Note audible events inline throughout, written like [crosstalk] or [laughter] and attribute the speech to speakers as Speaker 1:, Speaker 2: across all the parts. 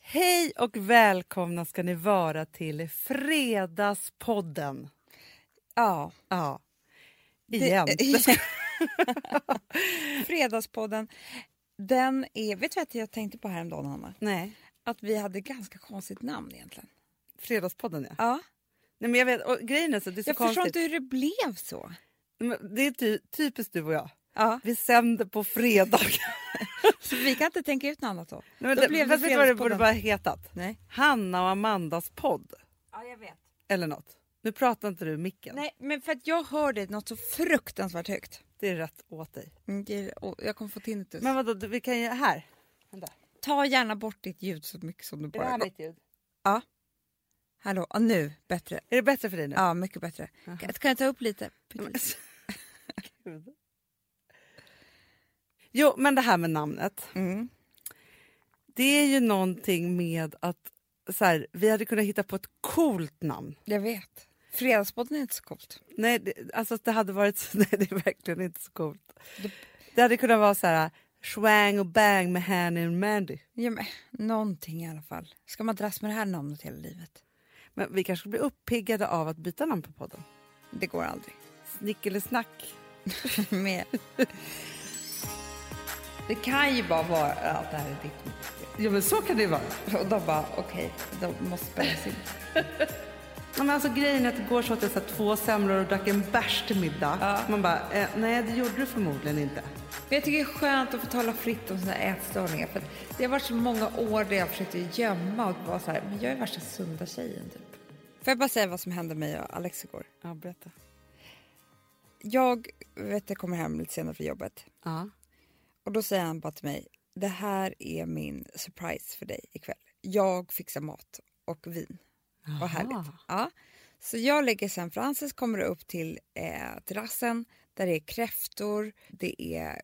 Speaker 1: Hej och välkomna ska ni vara till Fredagspodden.
Speaker 2: Ja.
Speaker 1: Ja,
Speaker 2: [laughs]
Speaker 1: igen.
Speaker 2: eh, Fredagspodden. Den är, vet du att jag tänkte på häromdagen, Hanna?
Speaker 1: Nej,
Speaker 2: Att vi hade ganska konstigt namn egentligen.
Speaker 1: Fredagspodden ja.
Speaker 2: Ja.
Speaker 1: Nej, men jag vet, och grejen är så, det är så
Speaker 2: Jag förstår
Speaker 1: konstigt.
Speaker 2: inte hur det blev så.
Speaker 1: Men Det är ty typiskt du och jag.
Speaker 2: Ja.
Speaker 1: Vi sänder på
Speaker 2: [laughs]
Speaker 1: fredag.
Speaker 2: Så vi kan inte tänka ut något annat då.
Speaker 1: Nej, men
Speaker 2: Då
Speaker 1: det,
Speaker 2: blev det
Speaker 1: vet du vad det borde
Speaker 2: Fredagspodden.
Speaker 1: bara hetat?
Speaker 2: Nej.
Speaker 1: Hanna och Amandas podd.
Speaker 2: Ja, jag vet.
Speaker 1: Eller något. Nu pratar inte du i micken.
Speaker 2: Nej, men för att jag hörde något så fruktansvärt högt.
Speaker 1: Det är rätt åt dig.
Speaker 2: Mm, det är- och Jag kommer få tinnitus.
Speaker 1: Men vadå, du- vi kan ju... Här. Vänta.
Speaker 2: ta gärna bort ditt ljud så mycket som du
Speaker 1: Är det
Speaker 2: bara
Speaker 1: här
Speaker 2: går.
Speaker 1: mitt ljud?
Speaker 2: Hallå, ja, nu bättre.
Speaker 1: Är det bättre för dig nu?
Speaker 2: Ja, mycket bättre.
Speaker 1: Jaha.
Speaker 2: Kan, kan jag ta upp lite?
Speaker 1: Men- Gud. Jo, men det här med namnet.
Speaker 2: Mm.
Speaker 1: Det är ju någonting med att så här, vi hade kunnat hitta på ett coolt namn.
Speaker 2: Jag vet. Fredagspodden är inte så coolt.
Speaker 1: Nej, det, alltså det hade varit så, [laughs] nej, det är verkligen inte så coolt. Det hade kunnat vara så här swang och bang med Hanny och Mandy.
Speaker 2: Ja, men, någonting i alla fall. Ska man dras med det här namnet hela livet?
Speaker 1: Men vi kanske blir uppiggade av att byta namn på podden.
Speaker 2: Det går aldrig. [laughs]
Speaker 1: Snick eller snack.
Speaker 2: med. Det kan ju bara vara att det här är ditt motspel.
Speaker 1: Jo, men så kan det ju vara.
Speaker 2: Och de bara, okej, de måste spärras in.
Speaker 1: Ja, men alltså, grejen är att igår så åt jag så här två semlor och drack en bärs till middag. Man bara, eh, nej det gjorde du förmodligen inte.
Speaker 2: Men jag tycker det är skönt att få tala fritt om sina ätstörningar. För att det har varit så många år där jag försökte gömma och vara så här, men jag är värsta sunda tjejen typ. Får jag bara säga vad som hände mig och Alex igår?
Speaker 1: Ja, berätta.
Speaker 2: Jag vet, jag kommer hem lite senare från jobbet
Speaker 1: Ja.
Speaker 2: och då säger han bara till mig, det här är min surprise för dig ikväll. Jag fixar mat och vin. Vad härligt. Ja. Så jag lägger sen Frances kommer upp till eh, terrassen där det är kräftor, det är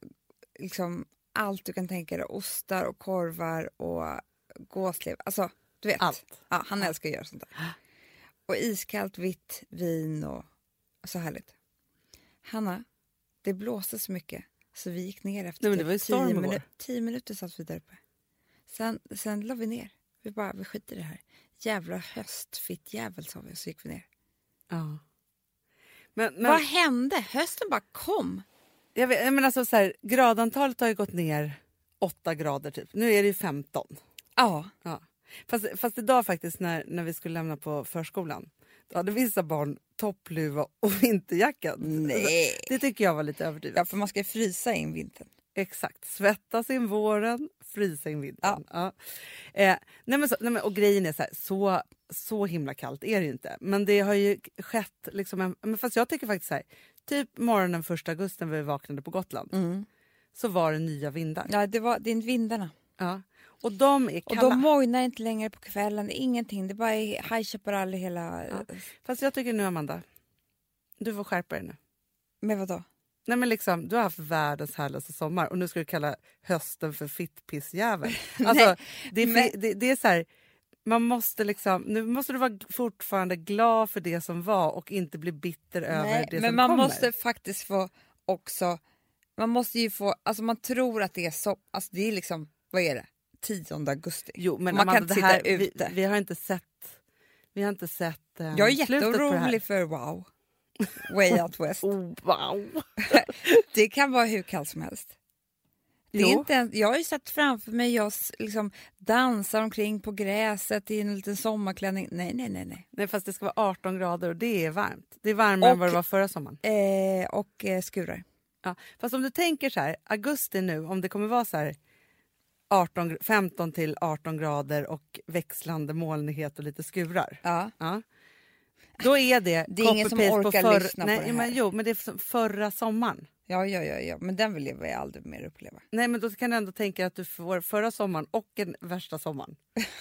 Speaker 2: liksom allt du kan tänka dig. Ostar och korvar och gåslever. Alltså, du vet.
Speaker 1: Allt.
Speaker 2: Ja, han älskar att göra sånt där. Och iskallt vitt vin och så härligt. Hanna, det blåste så mycket så vi gick ner efter
Speaker 1: Nej, men det var ju
Speaker 2: typ tio,
Speaker 1: storm igår.
Speaker 2: minu- tio minuter satt vi där uppe. Sen, sen la vi ner. Vi bara, vi skiter i det här. Jävla höstfittjävel sa vi och så gick vi ner.
Speaker 1: Ja. Men,
Speaker 2: Vad
Speaker 1: men,
Speaker 2: hände? Hösten bara kom.
Speaker 1: jag vet, men alltså, så här, gradantalet har ju gått ner 8 grader typ. Nu är det ju 15.
Speaker 2: Ja.
Speaker 1: Ja. Fast, fast idag faktiskt när, när vi skulle lämna på förskolan då hade vissa barn toppluva och [laughs] vinterjacka.
Speaker 2: Nej.
Speaker 1: Det tycker jag var lite överdrivet.
Speaker 2: Ja, för man ska ju frysa in vintern.
Speaker 1: Exakt. Svettas in våren, frysa in vintern. Ja. Eh, nej men så, nej men, och grejen är så, här, så så himla kallt är det ju inte. Men det har ju skett... Liksom en, men fast jag tycker faktiskt så här, typ morgonen 1 augusti när vi vaknade på Gotland så var det nya vindar. Mm. Ja.
Speaker 2: Ja, det var det är vindarna.
Speaker 1: Och de är
Speaker 2: Och
Speaker 1: kalla.
Speaker 2: de mojnar inte längre på kvällen, det är ingenting. Det bara är High Chaparral i hela...
Speaker 1: Fast jag tycker nu, Amanda, du får skärpa dig nu.
Speaker 2: Men vadå?
Speaker 1: Nej, men liksom, du har haft världens härligaste sommar och nu ska du kalla hösten för fittpissjävel.
Speaker 2: [laughs]
Speaker 1: Alltså, det, är,
Speaker 2: men-
Speaker 1: det, det är så här, man måste liksom, nu måste du vara g- fortfarande glad för det som var och inte bli bitter över det
Speaker 2: men
Speaker 1: som
Speaker 2: man
Speaker 1: kommer.
Speaker 2: måste faktiskt få också... Man måste ju få... Alltså man tror att det är så... Alltså det är liksom... Vad är det? 10 augusti.
Speaker 1: Jo, men
Speaker 2: man kan
Speaker 1: Amanda,
Speaker 2: inte
Speaker 1: det
Speaker 2: sitta
Speaker 1: här,
Speaker 2: ute.
Speaker 1: Vi, vi har inte sett... Vi har inte sett eh,
Speaker 2: Jag är
Speaker 1: slutet på det här.
Speaker 2: jätteorolig för wow. Way
Speaker 1: [laughs]
Speaker 2: out west.
Speaker 1: Oh, wow!
Speaker 2: Det kan vara hur kallt som helst. Det är
Speaker 1: Jo.
Speaker 2: inte ens, jag har ju sett framför mig jag s- liksom dansar omkring på gräset i en liten sommarklänning. Nej, nej, nej. nej.
Speaker 1: Nej, fast det ska vara 18 grader och det är varmt. Det är varmare än
Speaker 2: Och-
Speaker 1: vad det var förra sommaren.
Speaker 2: Eh, och eh, skurar.
Speaker 1: Ja, fast om du tänker så här, augusti nu, om det kommer vara så här 18, gr- 15 till 18 grader och växlande molnighet och lite skurar.
Speaker 2: Ja.
Speaker 1: Ja. Då är det,
Speaker 2: Det är ingen som
Speaker 1: copy-paste
Speaker 2: orkar
Speaker 1: förr-
Speaker 2: lyssna på
Speaker 1: nej,
Speaker 2: det här.
Speaker 1: Men, jo, men det är som förra sommaren.
Speaker 2: Ja, ja, ja, ja, men den vill jag väl aldrig mer uppleva.
Speaker 1: Nej, men då kan du ändå tänka att du får förra sommaren och den värsta sommaren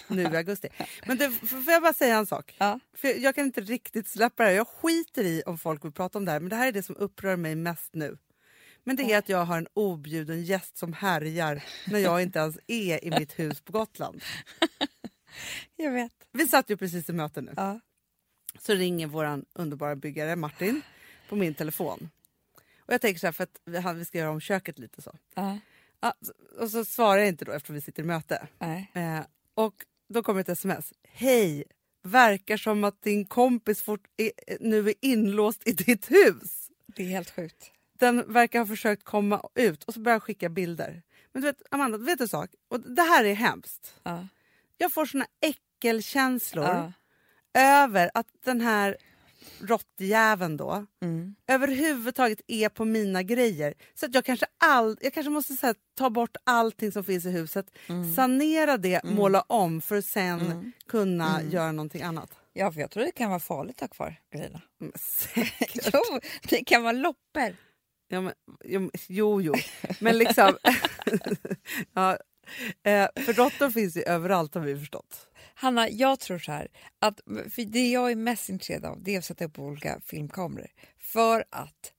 Speaker 1: nu i
Speaker 2: [laughs]
Speaker 1: augusti. Men du, f- får jag bara säga en sak?
Speaker 2: Ja.
Speaker 1: För jag kan inte riktigt släppa det här. Jag skiter i om folk vill prata om det här, men det här är det som upprör mig mest nu. Men det är att jag har en objuden gäst som härjar när jag inte ens är i mitt hus på Gotland.
Speaker 2: Jag vet.
Speaker 1: Vi satt ju precis i möte nu.
Speaker 2: Ja.
Speaker 1: Så ringer vår underbara byggare Martin på min telefon. Och jag tänker så här, för att vi, han- vi ska göra om köket lite så.
Speaker 2: Ja.
Speaker 1: Ja, så- och så svarar jag inte då eftersom vi sitter i möte.
Speaker 2: Nej.
Speaker 1: Eh, och då kommer ett sms. Hej! Verkar som att din kompis fort, är, nu är inlåst i ditt hus.
Speaker 2: Det är helt sjukt.
Speaker 1: Den verkar ha försökt komma ut och så börjar jag skicka bilder. Men du vet, Amanda, vet du en sak? Och det här är hemskt.
Speaker 2: Ja.
Speaker 1: Jag får såna äckelkänslor
Speaker 2: Ja.
Speaker 1: över att den här råttjäveln då
Speaker 2: Mm.
Speaker 1: överhuvudtaget är på mina grejer. Så att jag kanske, all, jag kanske måste så här, ta bort allting som finns i huset,
Speaker 2: Mm.
Speaker 1: sanera det, måla om för att sen kunna
Speaker 2: Mm.
Speaker 1: göra någonting annat. Mm,
Speaker 2: ja, för jag tror det kan vara farligt att ha kvar
Speaker 1: [laughs]
Speaker 2: grejerna.
Speaker 1: Men säkert.
Speaker 2: Jo, det kan vara loppor.
Speaker 1: Ja, men, jo, men- jo, jo. Men liksom... [laughs] ja, eh, för råttor finns ju överallt har vi förstått.
Speaker 2: Hanna, jag tror så här, att för det jag är mest intresserad av det är att sätta upp olika filmkameror. För att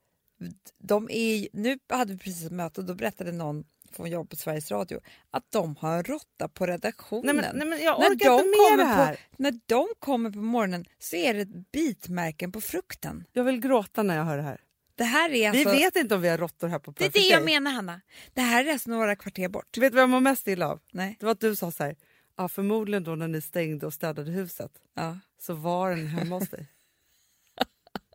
Speaker 2: de är, ju- nu hade vi precis ett möte och då berättade någon från jobb på Sveriges Radio att de har en råtta på redaktionen.
Speaker 1: Nej, men, nej, men jag
Speaker 2: när,
Speaker 1: orkar
Speaker 2: de
Speaker 1: inte med
Speaker 2: kommer
Speaker 1: det här.
Speaker 2: På, när de kommer på morgonen så är det bitmärken på frukten.
Speaker 1: Jag vill gråta när jag hör det här.
Speaker 2: Det här är alltså...
Speaker 1: vi vet inte om vi har råttor här på
Speaker 2: det är
Speaker 1: Perfect
Speaker 2: det jag
Speaker 1: Day.
Speaker 2: menar Hanna. Det här är alltså några kvarter bort.
Speaker 1: Vet du vad jag mår mest illa av?
Speaker 2: Nej.
Speaker 1: Det var att du sa så här, ja, förmodligen då när ni stängde och städade huset
Speaker 2: Ja.
Speaker 1: så var den hemma hos
Speaker 2: [laughs]
Speaker 1: dig.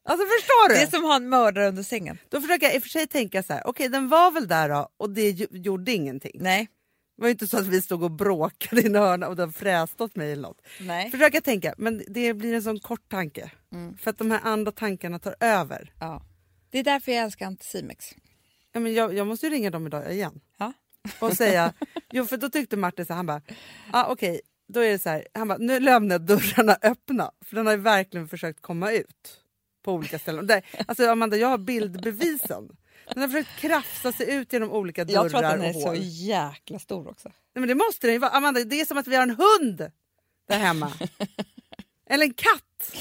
Speaker 1: Alltså förstår du?
Speaker 2: Det är som att ha en mördare under sängen.
Speaker 1: Då försöker jag i och för sig tänka så här, okej den var väl där då och det ju- gjorde ingenting.
Speaker 2: Nej.
Speaker 1: Det var ju inte så att vi stod och bråkade i en hörna och den fräste åt mig eller något.
Speaker 2: Nej. Mm.
Speaker 1: Försöka tänka, men det blir en sån kort tanke. För att de här andra tankarna tar över.
Speaker 2: Ja. Det är därför jag älskar Anticimex.
Speaker 1: Ja, men jag, jag måste ju ringa dem idag igen
Speaker 2: Ja.
Speaker 1: och säga, jo för då tyckte Martin så här, han bara, ah, okej, då är det så här, han bara, nu lämnar jag dörrarna öppna. För den har ju verkligen försökt komma ut på olika ställen. Där, alltså Amanda, jag har bildbevisen. Den har försökt krafsa sig ut genom olika dörrar
Speaker 2: Jag tror att den är
Speaker 1: och hål.
Speaker 2: så jäkla stor också.
Speaker 1: Nej, men det måste den ju vara. Amanda, det är som att vi har en hund där hemma. Eller en katt.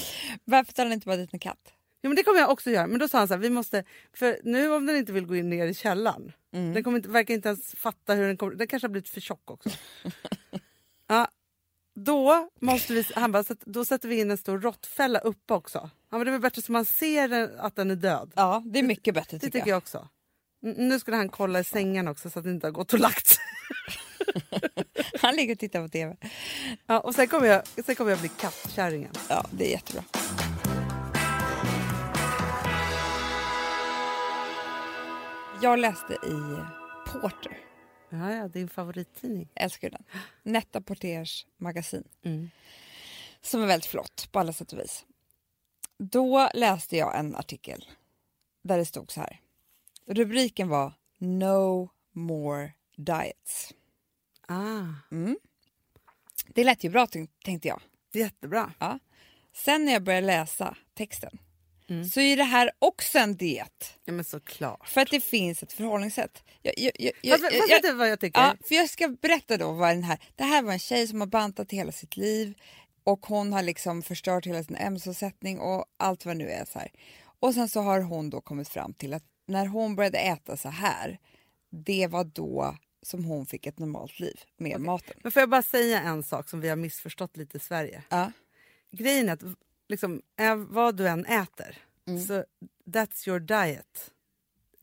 Speaker 2: Varför tar den inte bara dit en katt?
Speaker 1: Jo, men det kommer jag också göra. Men då sa han så här, vi måste, för nu om den inte vill gå in ner i källaren, den kommer inte, verkar inte ens fatta hur den kommer, den kanske har blivit för tjock också. [laughs] ja, då måste vi, han bara, så att, då sätter vi in en stor råttfälla uppe också. Han bara, det är väl bättre så man ser den, att den är död.
Speaker 2: Ja, det är mycket bättre
Speaker 1: Det tycker jag också. N- Nu skulle han kolla i sängen också så att det inte har gått och lagt sig. [laughs]
Speaker 2: Han ligger och tittar på TV.
Speaker 1: Ja, och sen kommer jag, sen kommer jag bli kattkärringen.
Speaker 2: Ja, det är jättebra. Jag läste i Porter,
Speaker 1: Ja, ja, din favorittidning.
Speaker 2: jag älskar den. Netta Porters magasin.
Speaker 1: Mm.
Speaker 2: Som är väldigt flott på alla sätt och vis. Då läste jag en artikel där det stod så här. Rubriken var No more diets.
Speaker 1: Ah,
Speaker 2: Det lät ju bra tyn- tänkte jag.
Speaker 1: jättebra.
Speaker 2: Ja. Sen när jag började läsa texten
Speaker 1: Mm.
Speaker 2: så är det här också en diet.
Speaker 1: Ja, men såklart.
Speaker 2: För att det finns ett förhållningssätt. Jag, jag, jag, jag,
Speaker 1: Fast, fast
Speaker 2: jag-
Speaker 1: vet du vad jag tycker?
Speaker 2: ja, för jag ska berätta då vad den här... Det här var en tjej som har bantat hela sitt liv och hon har liksom förstört hela sin ämnesomsättning och allt vad nu är så här. Och sen så har hon då kommit fram till att när hon började äta så här, det var då som hon fick ett normalt liv med maten.
Speaker 1: Men får jag bara säga en sak som vi har missförstått lite i Sverige.
Speaker 2: Ja.
Speaker 1: Grejen är att liksom, ä- vad du än äter,
Speaker 2: Mm.
Speaker 1: så that's your diet.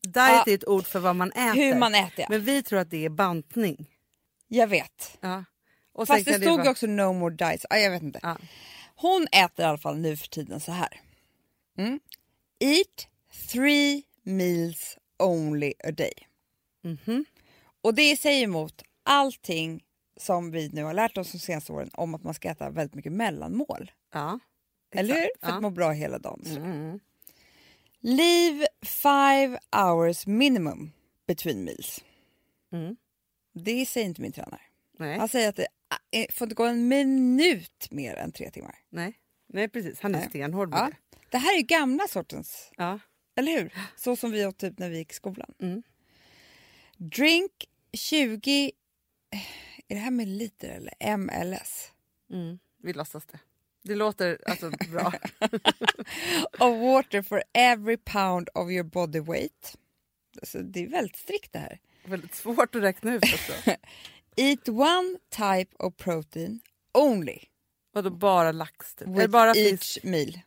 Speaker 1: Diet
Speaker 2: Ja.
Speaker 1: är ett ord för vad man äter.
Speaker 2: Hur man äter, ja.
Speaker 1: Men vi tror att det är bantning.
Speaker 2: Jag vet.
Speaker 1: Ja. Och sen
Speaker 2: Fast det
Speaker 1: kan
Speaker 2: stod
Speaker 1: vara-
Speaker 2: också no more diets. Ah, jag vet inte.
Speaker 1: Ja.
Speaker 2: Hon äter i alla fall nu för tiden så här. Mm. Eat three meals only a day.
Speaker 1: Mhm.
Speaker 2: Och det säger emot allting som vi nu har lärt oss de senaste åren om att man ska äta väldigt mycket mellanmål.
Speaker 1: Ja.
Speaker 2: Eller hur? För att
Speaker 1: Ja. Mm,
Speaker 2: må bra hela dagen. Leave five hours minimum between meals.
Speaker 1: Mm.
Speaker 2: Det säger inte min tränare.
Speaker 1: Nej.
Speaker 2: Han säger att det eh, får inte gå en minut mer än tre timmar.
Speaker 1: Nej. Nej, precis. Han är
Speaker 2: Nej.
Speaker 1: stenhård med
Speaker 2: Ja.
Speaker 1: det.
Speaker 2: Det här är ju gamla sortens,
Speaker 1: Ja.
Speaker 2: eller hur? Så som vi åt typ när vi gick i skolan.
Speaker 1: Mm.
Speaker 2: Drink 20... eh, Är det här med liter
Speaker 1: [laughs]
Speaker 2: eller MLS?
Speaker 1: Mm. Vi låtsas det. Det låter alltså
Speaker 2: [laughs]
Speaker 1: bra.
Speaker 2: Of water for every pound of your body weight. Så det är väldigt strikt det här.
Speaker 1: Väldigt svårt att räkna ut alltså. också.
Speaker 2: Eat one type of protein only
Speaker 1: Vadå bara lax? Typ. Eller
Speaker 2: with
Speaker 1: bara fisk?
Speaker 2: each meal.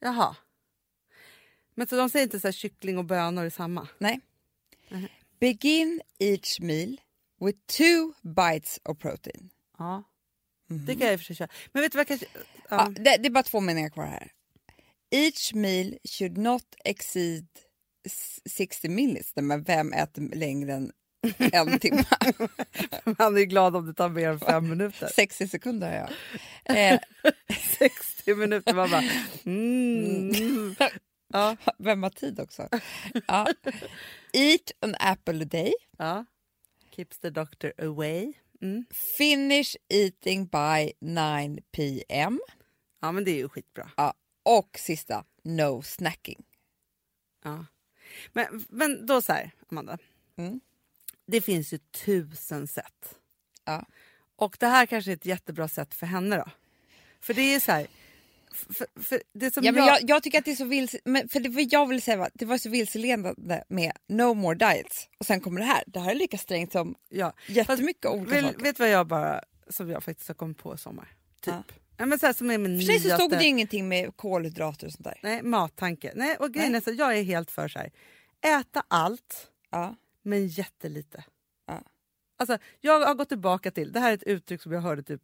Speaker 1: Jaha. Men så de säger inte så här kyckling och bönor är samma?
Speaker 2: Nej. Begin each meal with two bites of protein.
Speaker 1: Ja.
Speaker 2: Mm.
Speaker 1: Det kan jag i och för sig köra. Men vet du vad jag kanske... Ja.
Speaker 2: Ja, det, det är bara två meningar kvar här. Each meal should not exceed s- 60 minutes. Nej, Men vem äter längre än en timme? [laughs] Ah.
Speaker 1: [laughs] Han är ju glad om det tar mer än fem minuter.
Speaker 2: 60 sekunder har jag. Eh,
Speaker 1: 60 minuter. Man bara... Mm. Ja,
Speaker 2: vem har tid också? Ja. Eat an apple a day.
Speaker 1: ja. Keeps the doctor away. Mm.
Speaker 2: Finish eating by 9 p.m.
Speaker 1: Ja, men det är ju skitbra.
Speaker 2: Ja. Och sista, no snacking.
Speaker 1: Ja. Men, men då så här, Amanda.
Speaker 2: Mm.
Speaker 1: Det finns ju tusen sätt.
Speaker 2: Ja.
Speaker 1: Och det här kanske är ett jättebra sätt för henne då. För det är så här... För, för det som
Speaker 2: Ja, men
Speaker 1: jag...
Speaker 2: jag, jag tycker att det är så vilse, men för det, vad jag vill säga var att det var så vilseledande med no more diets och sen kommer det här. Det här är lika strängt som
Speaker 1: ja.
Speaker 2: jättemycket olika
Speaker 1: Vill,
Speaker 2: saker.
Speaker 1: vet du vad jag bara, som jag faktiskt har kommit på i sommar? Typ.
Speaker 2: Ja.
Speaker 1: Ja, men så här, som är min
Speaker 2: För sig så
Speaker 1: nyaste-
Speaker 2: stod det ju ingenting med kolhydrater och sånt där.
Speaker 1: Nej, mattanke. Nej, och grejen
Speaker 2: Nej.
Speaker 1: är så, jag är helt för så här, äta allt
Speaker 2: Ja.
Speaker 1: men jättelite.
Speaker 2: Ja.
Speaker 1: Alltså, jag har gått tillbaka till, det här är ett uttryck som jag hörde typ,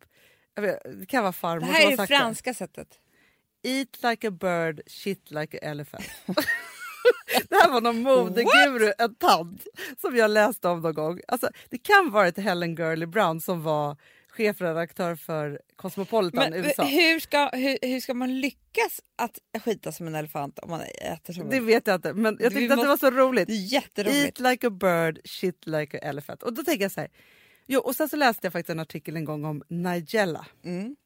Speaker 1: jag vet, det kan vara farmor
Speaker 2: Det
Speaker 1: som
Speaker 2: här
Speaker 1: har
Speaker 2: är det
Speaker 1: sagt
Speaker 2: franska sättet.
Speaker 1: det. Eat like a bird, shit like a elephant. [laughs] det här var någon modeguru, en tant, som jag läste om någon gång. Alltså, det kan vara ett Helen Gurley Brown som var chefredaktör för Cosmopolitan
Speaker 2: Men eh,
Speaker 1: i USA.
Speaker 2: hur ska, hur, hur ska man lyckas att skita som en elefant om man äter som
Speaker 1: Det
Speaker 2: en
Speaker 1: vet jag inte, men jag
Speaker 2: Vi
Speaker 1: tyckte att det var så roligt.
Speaker 2: Det är jätteroligt.
Speaker 1: Eat like a bird, shit like a elephant. Och då tänker jag så här. Jo, och sen så läste jag faktiskt en artikel en gång om Nigella.
Speaker 2: Mm.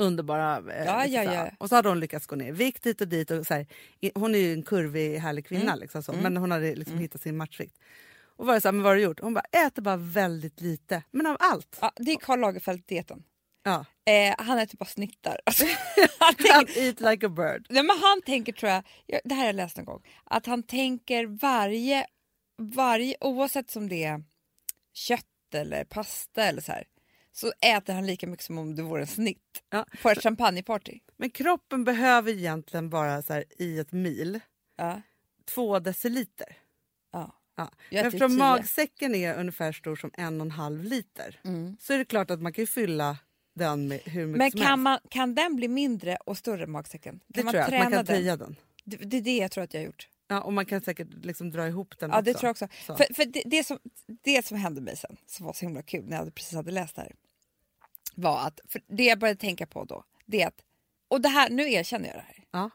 Speaker 1: Underbara. Eh,
Speaker 2: Ja,
Speaker 1: liksom
Speaker 2: ja,
Speaker 1: så här.
Speaker 2: ja.
Speaker 1: Och så hade hon lyckats gå ner i vikt hit och dit. Och så här, I- hon är ju en kurvig, härlig kvinna.
Speaker 2: Mm.
Speaker 1: Liksom så. Men hon hade liksom hittat sin matchvikt. Och var det så här, men vad har du gjort? Hon bara, äter bara väldigt lite. Men av allt.
Speaker 2: Ja, det är Karl Lagerfeld-dieten. [laughs]
Speaker 1: Ja.
Speaker 2: Eh, han äter bara snittar. [laughs] Alltså, han, tänker,
Speaker 1: Eat like a bird.
Speaker 2: nej, men han tänker, tror jag, jag- det här har jag läst någon gång, att han tänker varje, varje oavsett som det är kött eller pasta eller så här, så äter han lika mycket som om det vore en snitt
Speaker 1: Ja.
Speaker 2: på ett champagneparty.
Speaker 1: Men kroppen behöver egentligen bara så här, i ett mil
Speaker 2: Ja,
Speaker 1: två deciliter.
Speaker 2: ja.
Speaker 1: Ja.
Speaker 2: Jag äter
Speaker 1: Eftersom
Speaker 2: tio.
Speaker 1: magsäcken är ungefär stor som en och en halv liter
Speaker 2: Mm.
Speaker 1: så är det klart att man kan ju fylla den med hur mycket
Speaker 2: Men
Speaker 1: som
Speaker 2: kan,
Speaker 1: helst.
Speaker 2: man, kan den bli mindre och större magsäcken? Kan
Speaker 1: Det
Speaker 2: man
Speaker 1: tror jag, att
Speaker 2: träna
Speaker 1: man kan
Speaker 2: den?
Speaker 1: töja den.
Speaker 2: Det, det är det jag tror att jag har gjort.
Speaker 1: Ja, och man kan säkert liksom dra ihop den
Speaker 2: Ja,
Speaker 1: också.
Speaker 2: det tror jag också.
Speaker 1: Så.
Speaker 2: För, för det, det, som, det som hände mig sen, som var så himla kul när jag hade- precis hade läst det här, var att för det jag började tänka på då, det är att, och det här, nu erkänner jag det här,
Speaker 1: Ja.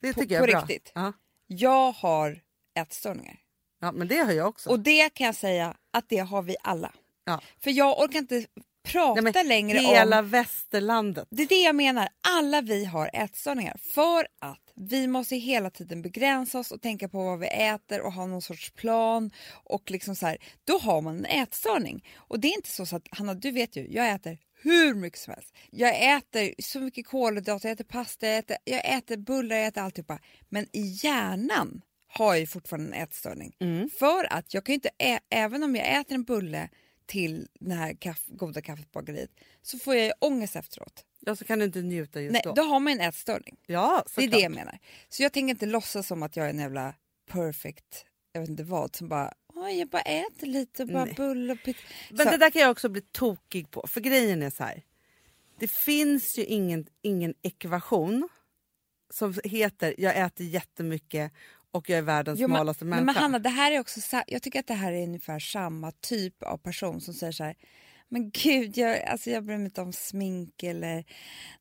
Speaker 1: Det
Speaker 2: På-
Speaker 1: tycker
Speaker 2: på
Speaker 1: jag är bra.
Speaker 2: riktigt.
Speaker 1: Ja.
Speaker 2: jag har ätstörningar.
Speaker 1: ja, men det har jag också.
Speaker 2: Och det kan jag säga att det har vi alla.
Speaker 1: Ja.
Speaker 2: För jag orkar inte prata
Speaker 1: Nej, men
Speaker 2: längre
Speaker 1: Hela
Speaker 2: om...
Speaker 1: västerlandet.
Speaker 2: Det är det jag menar, alla vi har ätstörningar för att vi måste hela tiden begränsa oss och tänka på vad vi äter och ha någon sorts plan och liksom så här, då har man en ätstörning. Och det är inte så, så att Hanna, du vet ju, jag äter hur mycket som helst. Jag äter så mycket kolhydrater, jag äter pasta, jag äter, jag äter bullar, jag äter alltihopa. Men i hjärnan har jag ju fortfarande en ätstörning. För att jag kan ju inte, ä- även om jag äter en bulle till det här kaff, goda kaffet på bageriet så får jag ju ångest efteråt.
Speaker 1: Ja, så kan du inte njuta just
Speaker 2: Nej,
Speaker 1: då.
Speaker 2: då. har man en ätstörning.
Speaker 1: Ja,
Speaker 2: Det är
Speaker 1: såklart.
Speaker 2: det jag menar. Så jag tänker inte låtsas som att jag är en jävla perfect, jag vet inte vad, som bara Oj, jag bara äter lite, bara
Speaker 1: Nej.
Speaker 2: bull och pizza.
Speaker 1: Men
Speaker 2: Så-
Speaker 1: det där kan jag också bli tokig på. För grejen är så här. Det finns ju ingen, ingen ekvation som heter jag äter jättemycket och jag är världens
Speaker 2: Jo, men-
Speaker 1: smalaste
Speaker 2: Nej,
Speaker 1: människa.
Speaker 2: men Hanna, det här är också, sa- jag tycker att det här är ungefär samma typ av person som säger så här men gud, jag, alltså jag bryr mig inte om smink eller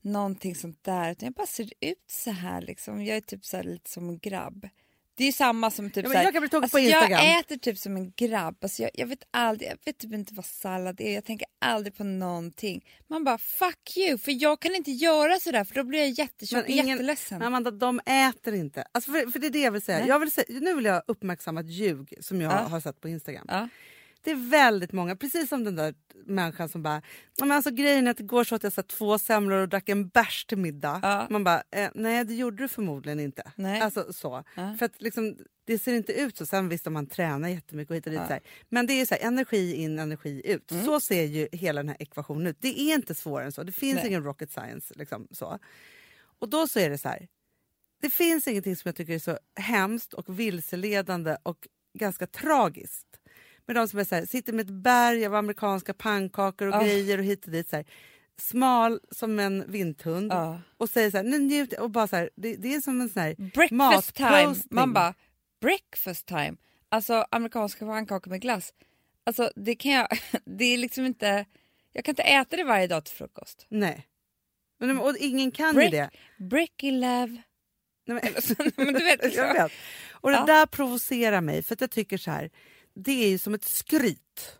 Speaker 2: någonting sånt där. Utan jag bara ser ut så här liksom. Jag är typ så här lite som en grabb. Det är ju samma som typ
Speaker 1: Ja,
Speaker 2: så
Speaker 1: men
Speaker 2: här,
Speaker 1: jag kan bli tokig
Speaker 2: Alltså,
Speaker 1: på Instagram.
Speaker 2: Jag äter typ som en grabb. Alltså, jag, jag, vet aldrig, jag vet typ inte vad sallad är. Jag tänker aldrig på någonting. Man bara fuck you, för jag kan inte göra sådär för då blir jag jättetjock och
Speaker 1: Men ingen-
Speaker 2: jätteledsen.
Speaker 1: Men Amanda, de äter inte. Alltså för, för det är det jag vill säga.
Speaker 2: Nej.
Speaker 1: Jag vill säga. Nu vill jag uppmärksamma ett ljug som jag
Speaker 2: Ja.
Speaker 1: har sett på Instagram.
Speaker 2: Ja.
Speaker 1: Det är väldigt många, precis som den där människan som bara "Ja, men alltså grejen är att igår så åt jag så här två semlor och drack en bärs till middag.
Speaker 2: Ja.
Speaker 1: Man bara, eh, nej det gjorde du förmodligen inte.
Speaker 2: Nej.
Speaker 1: Alltså så.
Speaker 2: Ja.
Speaker 1: För att liksom, det ser inte ut så. Sen visst om man tränar jättemycket och hit och dit.
Speaker 2: Ja. Mm.
Speaker 1: Så här. Men det är så här, energi in, energi ut. Så ser ju hela den här ekvationen ut. Det är inte svårare än så. Det finns
Speaker 2: Nej.
Speaker 1: ingen rocket science. Liksom, så. Och då så är det så här. Det finns ingenting som jag tycker är så hemskt och vilseledande och ganska tragiskt. Med de som är så här, sitter med ett berg av amerikanska pannkakor och
Speaker 2: Ah.
Speaker 1: grejer och hit och dit. Så här. smal som en vinthund
Speaker 2: Ja.
Speaker 1: och säger så här, nu njut och bara så här, det, det är som en sån här
Speaker 2: Breakfast time.
Speaker 1: matpostning.
Speaker 2: Man bara, breakfast time. Alltså amerikanska pannkakor med glass. Alltså det kan jag, [laughs] det är liksom inte, jag kan inte äta det varje dag till frukost.
Speaker 1: Nej. Men, och ingen kan ju
Speaker 2: Break,
Speaker 1: det. [laughs]
Speaker 2: breaky love.
Speaker 1: Nej, men,
Speaker 2: [laughs] Alltså, men du vet,
Speaker 1: [laughs]
Speaker 2: liksom.
Speaker 1: jag vet. Och det
Speaker 2: Ja.
Speaker 1: där provocerar mig för att jag tycker så här, det är ju som ett skryt.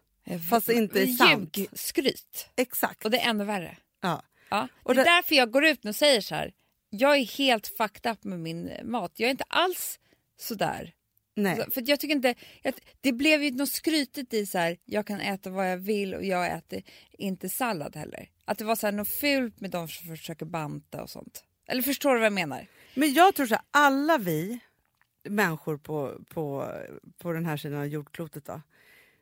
Speaker 1: Fast det inte är sant.
Speaker 2: Ljug, skryt.
Speaker 1: Exakt.
Speaker 2: Och det är ännu värre.
Speaker 1: Ja.
Speaker 2: Ja.
Speaker 1: Och
Speaker 2: det är
Speaker 1: det-
Speaker 2: därför jag går ut nu och säger så här. Jag är helt fucked up med min mat. Jag är inte alls sådär.
Speaker 1: Nej.
Speaker 2: Alltså, För att jag tycker inte, jag, det blev ju något skrytigt i så här. jag kan äta vad jag vill och jag äter inte sallad heller. Att det var så här något fult med de som försöker banta och sånt. Eller förstår du vad jag menar?
Speaker 1: Men jag tror så här, alla vi människor på, på, på den här sidan av jordklotet då,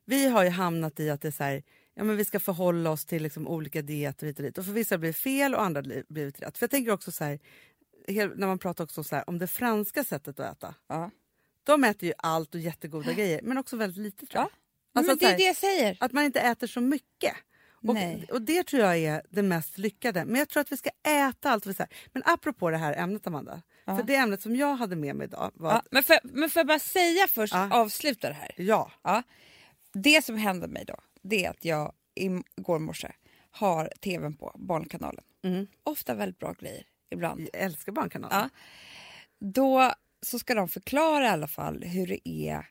Speaker 1: vi har ju hamnat i att det är så här, ja, men vi ska förhålla oss till liksom olika dieter hit och dit. Och för vissa blir det fel och andra blir blir det rätt. För jag tänker också så här, hel- när man pratar också så här, om det franska sättet att äta.
Speaker 2: Ja. Mm,
Speaker 1: De äter ju allt och jättegoda grejer, men också väldigt lite tror jag.
Speaker 2: Ja.
Speaker 1: Alltså
Speaker 2: men
Speaker 1: att
Speaker 2: det
Speaker 1: så
Speaker 2: är
Speaker 1: här-
Speaker 2: det jag säger.
Speaker 1: Att man inte äter så mycket. Och,
Speaker 2: Nej.
Speaker 1: och Det tror jag är det mest lyckade. Men jag tror att vi ska äta allt. Vi så här. Men apropå det här ämnet, Amanda. För det ämnet som jag hade med mig idag var
Speaker 2: Ja,
Speaker 1: att
Speaker 2: men, för, men får jag bara säga först,
Speaker 1: Ja.
Speaker 2: avsluta det här.
Speaker 1: ja,
Speaker 2: Ja. Det som hände mig då, det är att jag igår morse har tvn på, Barnkanalen.
Speaker 1: Mm.
Speaker 2: Ofta väldigt bra grejer, ibland.
Speaker 1: jag älskar Barnkanalen.
Speaker 2: Ja. Då så ska de förklara i alla fall hur det är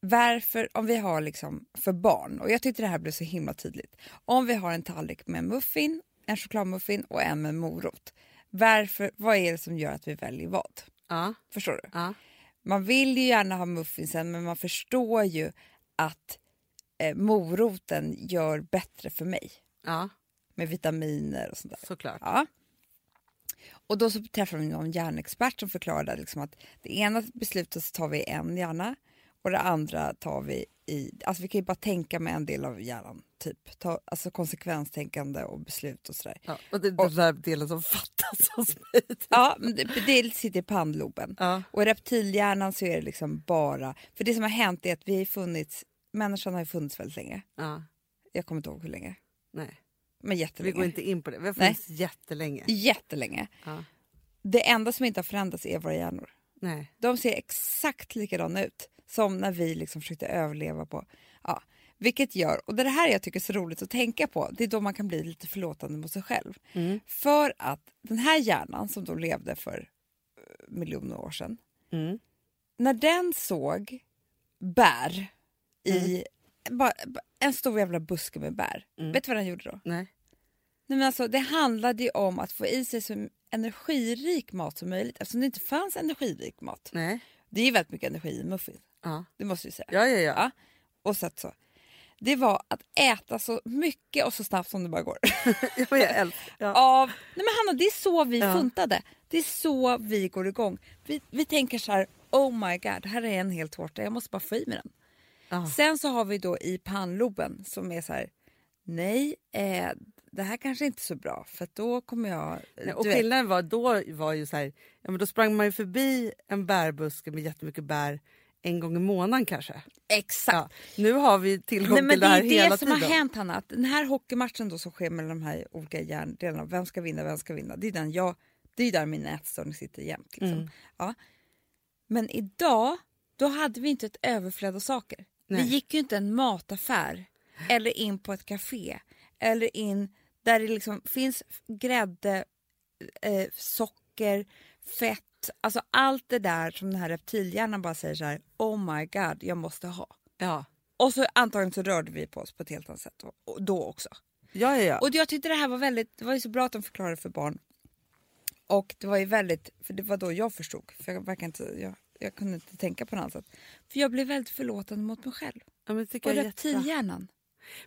Speaker 2: varför, om vi har liksom för barn, och jag tyckte det här blev så himla tydligt. Om vi har en tallrik med en muffin, en chokladmuffin och en med morot. Varför, vad är det som gör att vi väljer vad?
Speaker 1: Ja.
Speaker 2: Förstår du?
Speaker 1: Ja.
Speaker 2: Man vill ju gärna ha muffinsen men man förstår ju att eh, moroten gör bättre för mig
Speaker 1: ja,
Speaker 2: med vitaminer och sånt där.
Speaker 1: såklart.
Speaker 2: Ja. Och då så träffade vi någon hjärnexpert som förklarade liksom att det ena beslutet så tar vi i en hjärna och det andra tar vi i... Alltså vi kan ju bara tänka med en del av hjärnan, typ. Ta, alltså konsekvenstänkande och beslut och sådär.
Speaker 1: Ja. Och det är den där delen som fattas hos mig.
Speaker 2: Ja, men det, det sitter i pannloben.
Speaker 1: Ja.
Speaker 2: Och i reptilhjärnan så är det liksom bara... För det som har hänt är att vi har ju funnits... Människan har ju funnits väldigt länge.
Speaker 1: Ja.
Speaker 2: Jag kommer inte ihåg hur länge.
Speaker 1: Nej,
Speaker 2: Men
Speaker 1: vi
Speaker 2: jättelänge.
Speaker 1: går inte in på det. Vi har
Speaker 2: Nej.
Speaker 1: funnits jättelänge.
Speaker 2: Jättelänge.
Speaker 1: Ja.
Speaker 2: Det enda som inte har förändrats är våra hjärnor.
Speaker 1: Nej.
Speaker 2: De ser exakt likadana ut som när vi liksom försökte överleva på... Ja, vilket gör, och det är det här jag tycker är så roligt att tänka på, det är då man kan bli lite förlåtande mot sig själv. För att den här hjärnan som då levde för eh, miljoner år sedan,
Speaker 1: Mm.
Speaker 2: när den såg bär i bara, bara en stor jävla buske med bär, vet du vad den gjorde då?
Speaker 1: Nej.
Speaker 2: Nej, men alltså, det handlade ju om att få i sig så energirik mat som möjligt eftersom det inte fanns energirik mat.
Speaker 1: Nej.
Speaker 2: Det är ju väldigt mycket energi i muffins.
Speaker 1: Ja.
Speaker 2: Det måste jag säga.
Speaker 1: Ja, ja, ja.
Speaker 2: Ja. Och så att så. Det var att äta så mycket och så snabbt som det bara går.
Speaker 1: [laughs] ja. men Jag älskar. Ja.
Speaker 2: Av, nej men Hanna, det är så vi
Speaker 1: Ja.
Speaker 2: funtade. Det är så vi går igång. Vi, vi tänker så här, oh my god, det här är en hel tårta, jag måste bara få i mig den.
Speaker 1: Ja.
Speaker 2: Sen så har vi då i pannloben som är så här, nej, eh, det här kanske inte är så bra för att då kommer jag...
Speaker 1: Nej, Eh, och
Speaker 2: du vet,
Speaker 1: skillnaden var då var ju så här, ja, men då sprang man ju förbi en bärbuske med jättemycket bär en gång i månaden kanske.
Speaker 2: exakt.
Speaker 1: Ja, nu har vi tillgång
Speaker 2: Nej, men
Speaker 1: till
Speaker 2: det
Speaker 1: det här
Speaker 2: är
Speaker 1: hela
Speaker 2: det som
Speaker 1: tiden.
Speaker 2: har hänt Hanna. Att den här hockeymatchen då som sker mellan de här olika hjärndelarna, vem ska vinna, vem ska vinna? Det är, den jag, det är där min ätstörning sitter jämt. Liksom.
Speaker 1: Mm.
Speaker 2: Ja. Men idag, då hade vi inte ett överflöd av saker.
Speaker 1: Nej.
Speaker 2: Vi gick ju inte en mataffär eller in på ett café eller in där det liksom finns grädde, eh, socker, fett, alltså allt det där som den här reptilhjärnan bara säger så här, oh my god, jag måste ha.
Speaker 1: Ja.
Speaker 2: Och så antagligen så rörde vi på oss på ett helt annat sätt då, och då också.
Speaker 1: Ja, ja, ja.
Speaker 2: Och jag tyckte det här var väldigt, det var ju så bra att de förklarade för barn. Och det var ju väldigt, för det var då jag förstod, för jag, verkar inte, jag, jag kunde inte tänka på något annat sätt. För jag blev väldigt förlåtande mot mig själv
Speaker 1: ja men, det tycker
Speaker 2: och
Speaker 1: jag är jättebra.
Speaker 2: reptilhjärnan.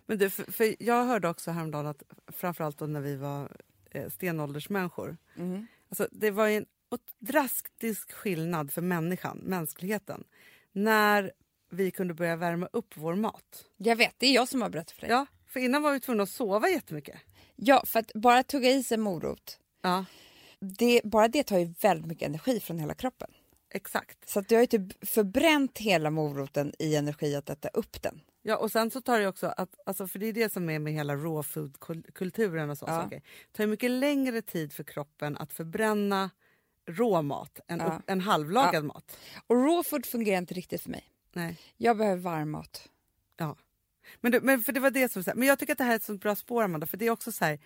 Speaker 1: men du, för, för Jag hörde också häromdagen att framförallt då när vi var eh, stenåldersmänniskor.
Speaker 2: Mm.
Speaker 1: Alltså, det var ju en ot- drastisk skillnad för människan, mänskligheten, när vi kunde börja värma upp vår mat.
Speaker 2: Jag vet, det är jag som har berättat för dig. Ja,
Speaker 1: Ja, för innan var vi tvungna att sova jättemycket.
Speaker 2: för att bara tugga i sig morot,
Speaker 1: Ja,
Speaker 2: det, bara det tar ju väldigt mycket energi från hela kroppen.
Speaker 1: exakt.
Speaker 2: Så att du har ju typ förbränt hela moroten i energi att äta upp den.
Speaker 1: Ja, och sen så tar det ju också, att, alltså, för det är det som är med hela raw food-kulturen och sådana
Speaker 2: Ja.
Speaker 1: saker. Det tar ju mycket längre tid för kroppen att förbränna rå mat än,
Speaker 2: Ja.
Speaker 1: upp, än halvlagad
Speaker 2: Ja.
Speaker 1: mat.
Speaker 2: Och raw food fungerar inte riktigt för mig.
Speaker 1: Nej.
Speaker 2: Jag behöver varm mat.
Speaker 1: Men, du, men för det var det som... Så här, men jag tycker att det här är ett sånt bra spår, Amanda, för det är också så här...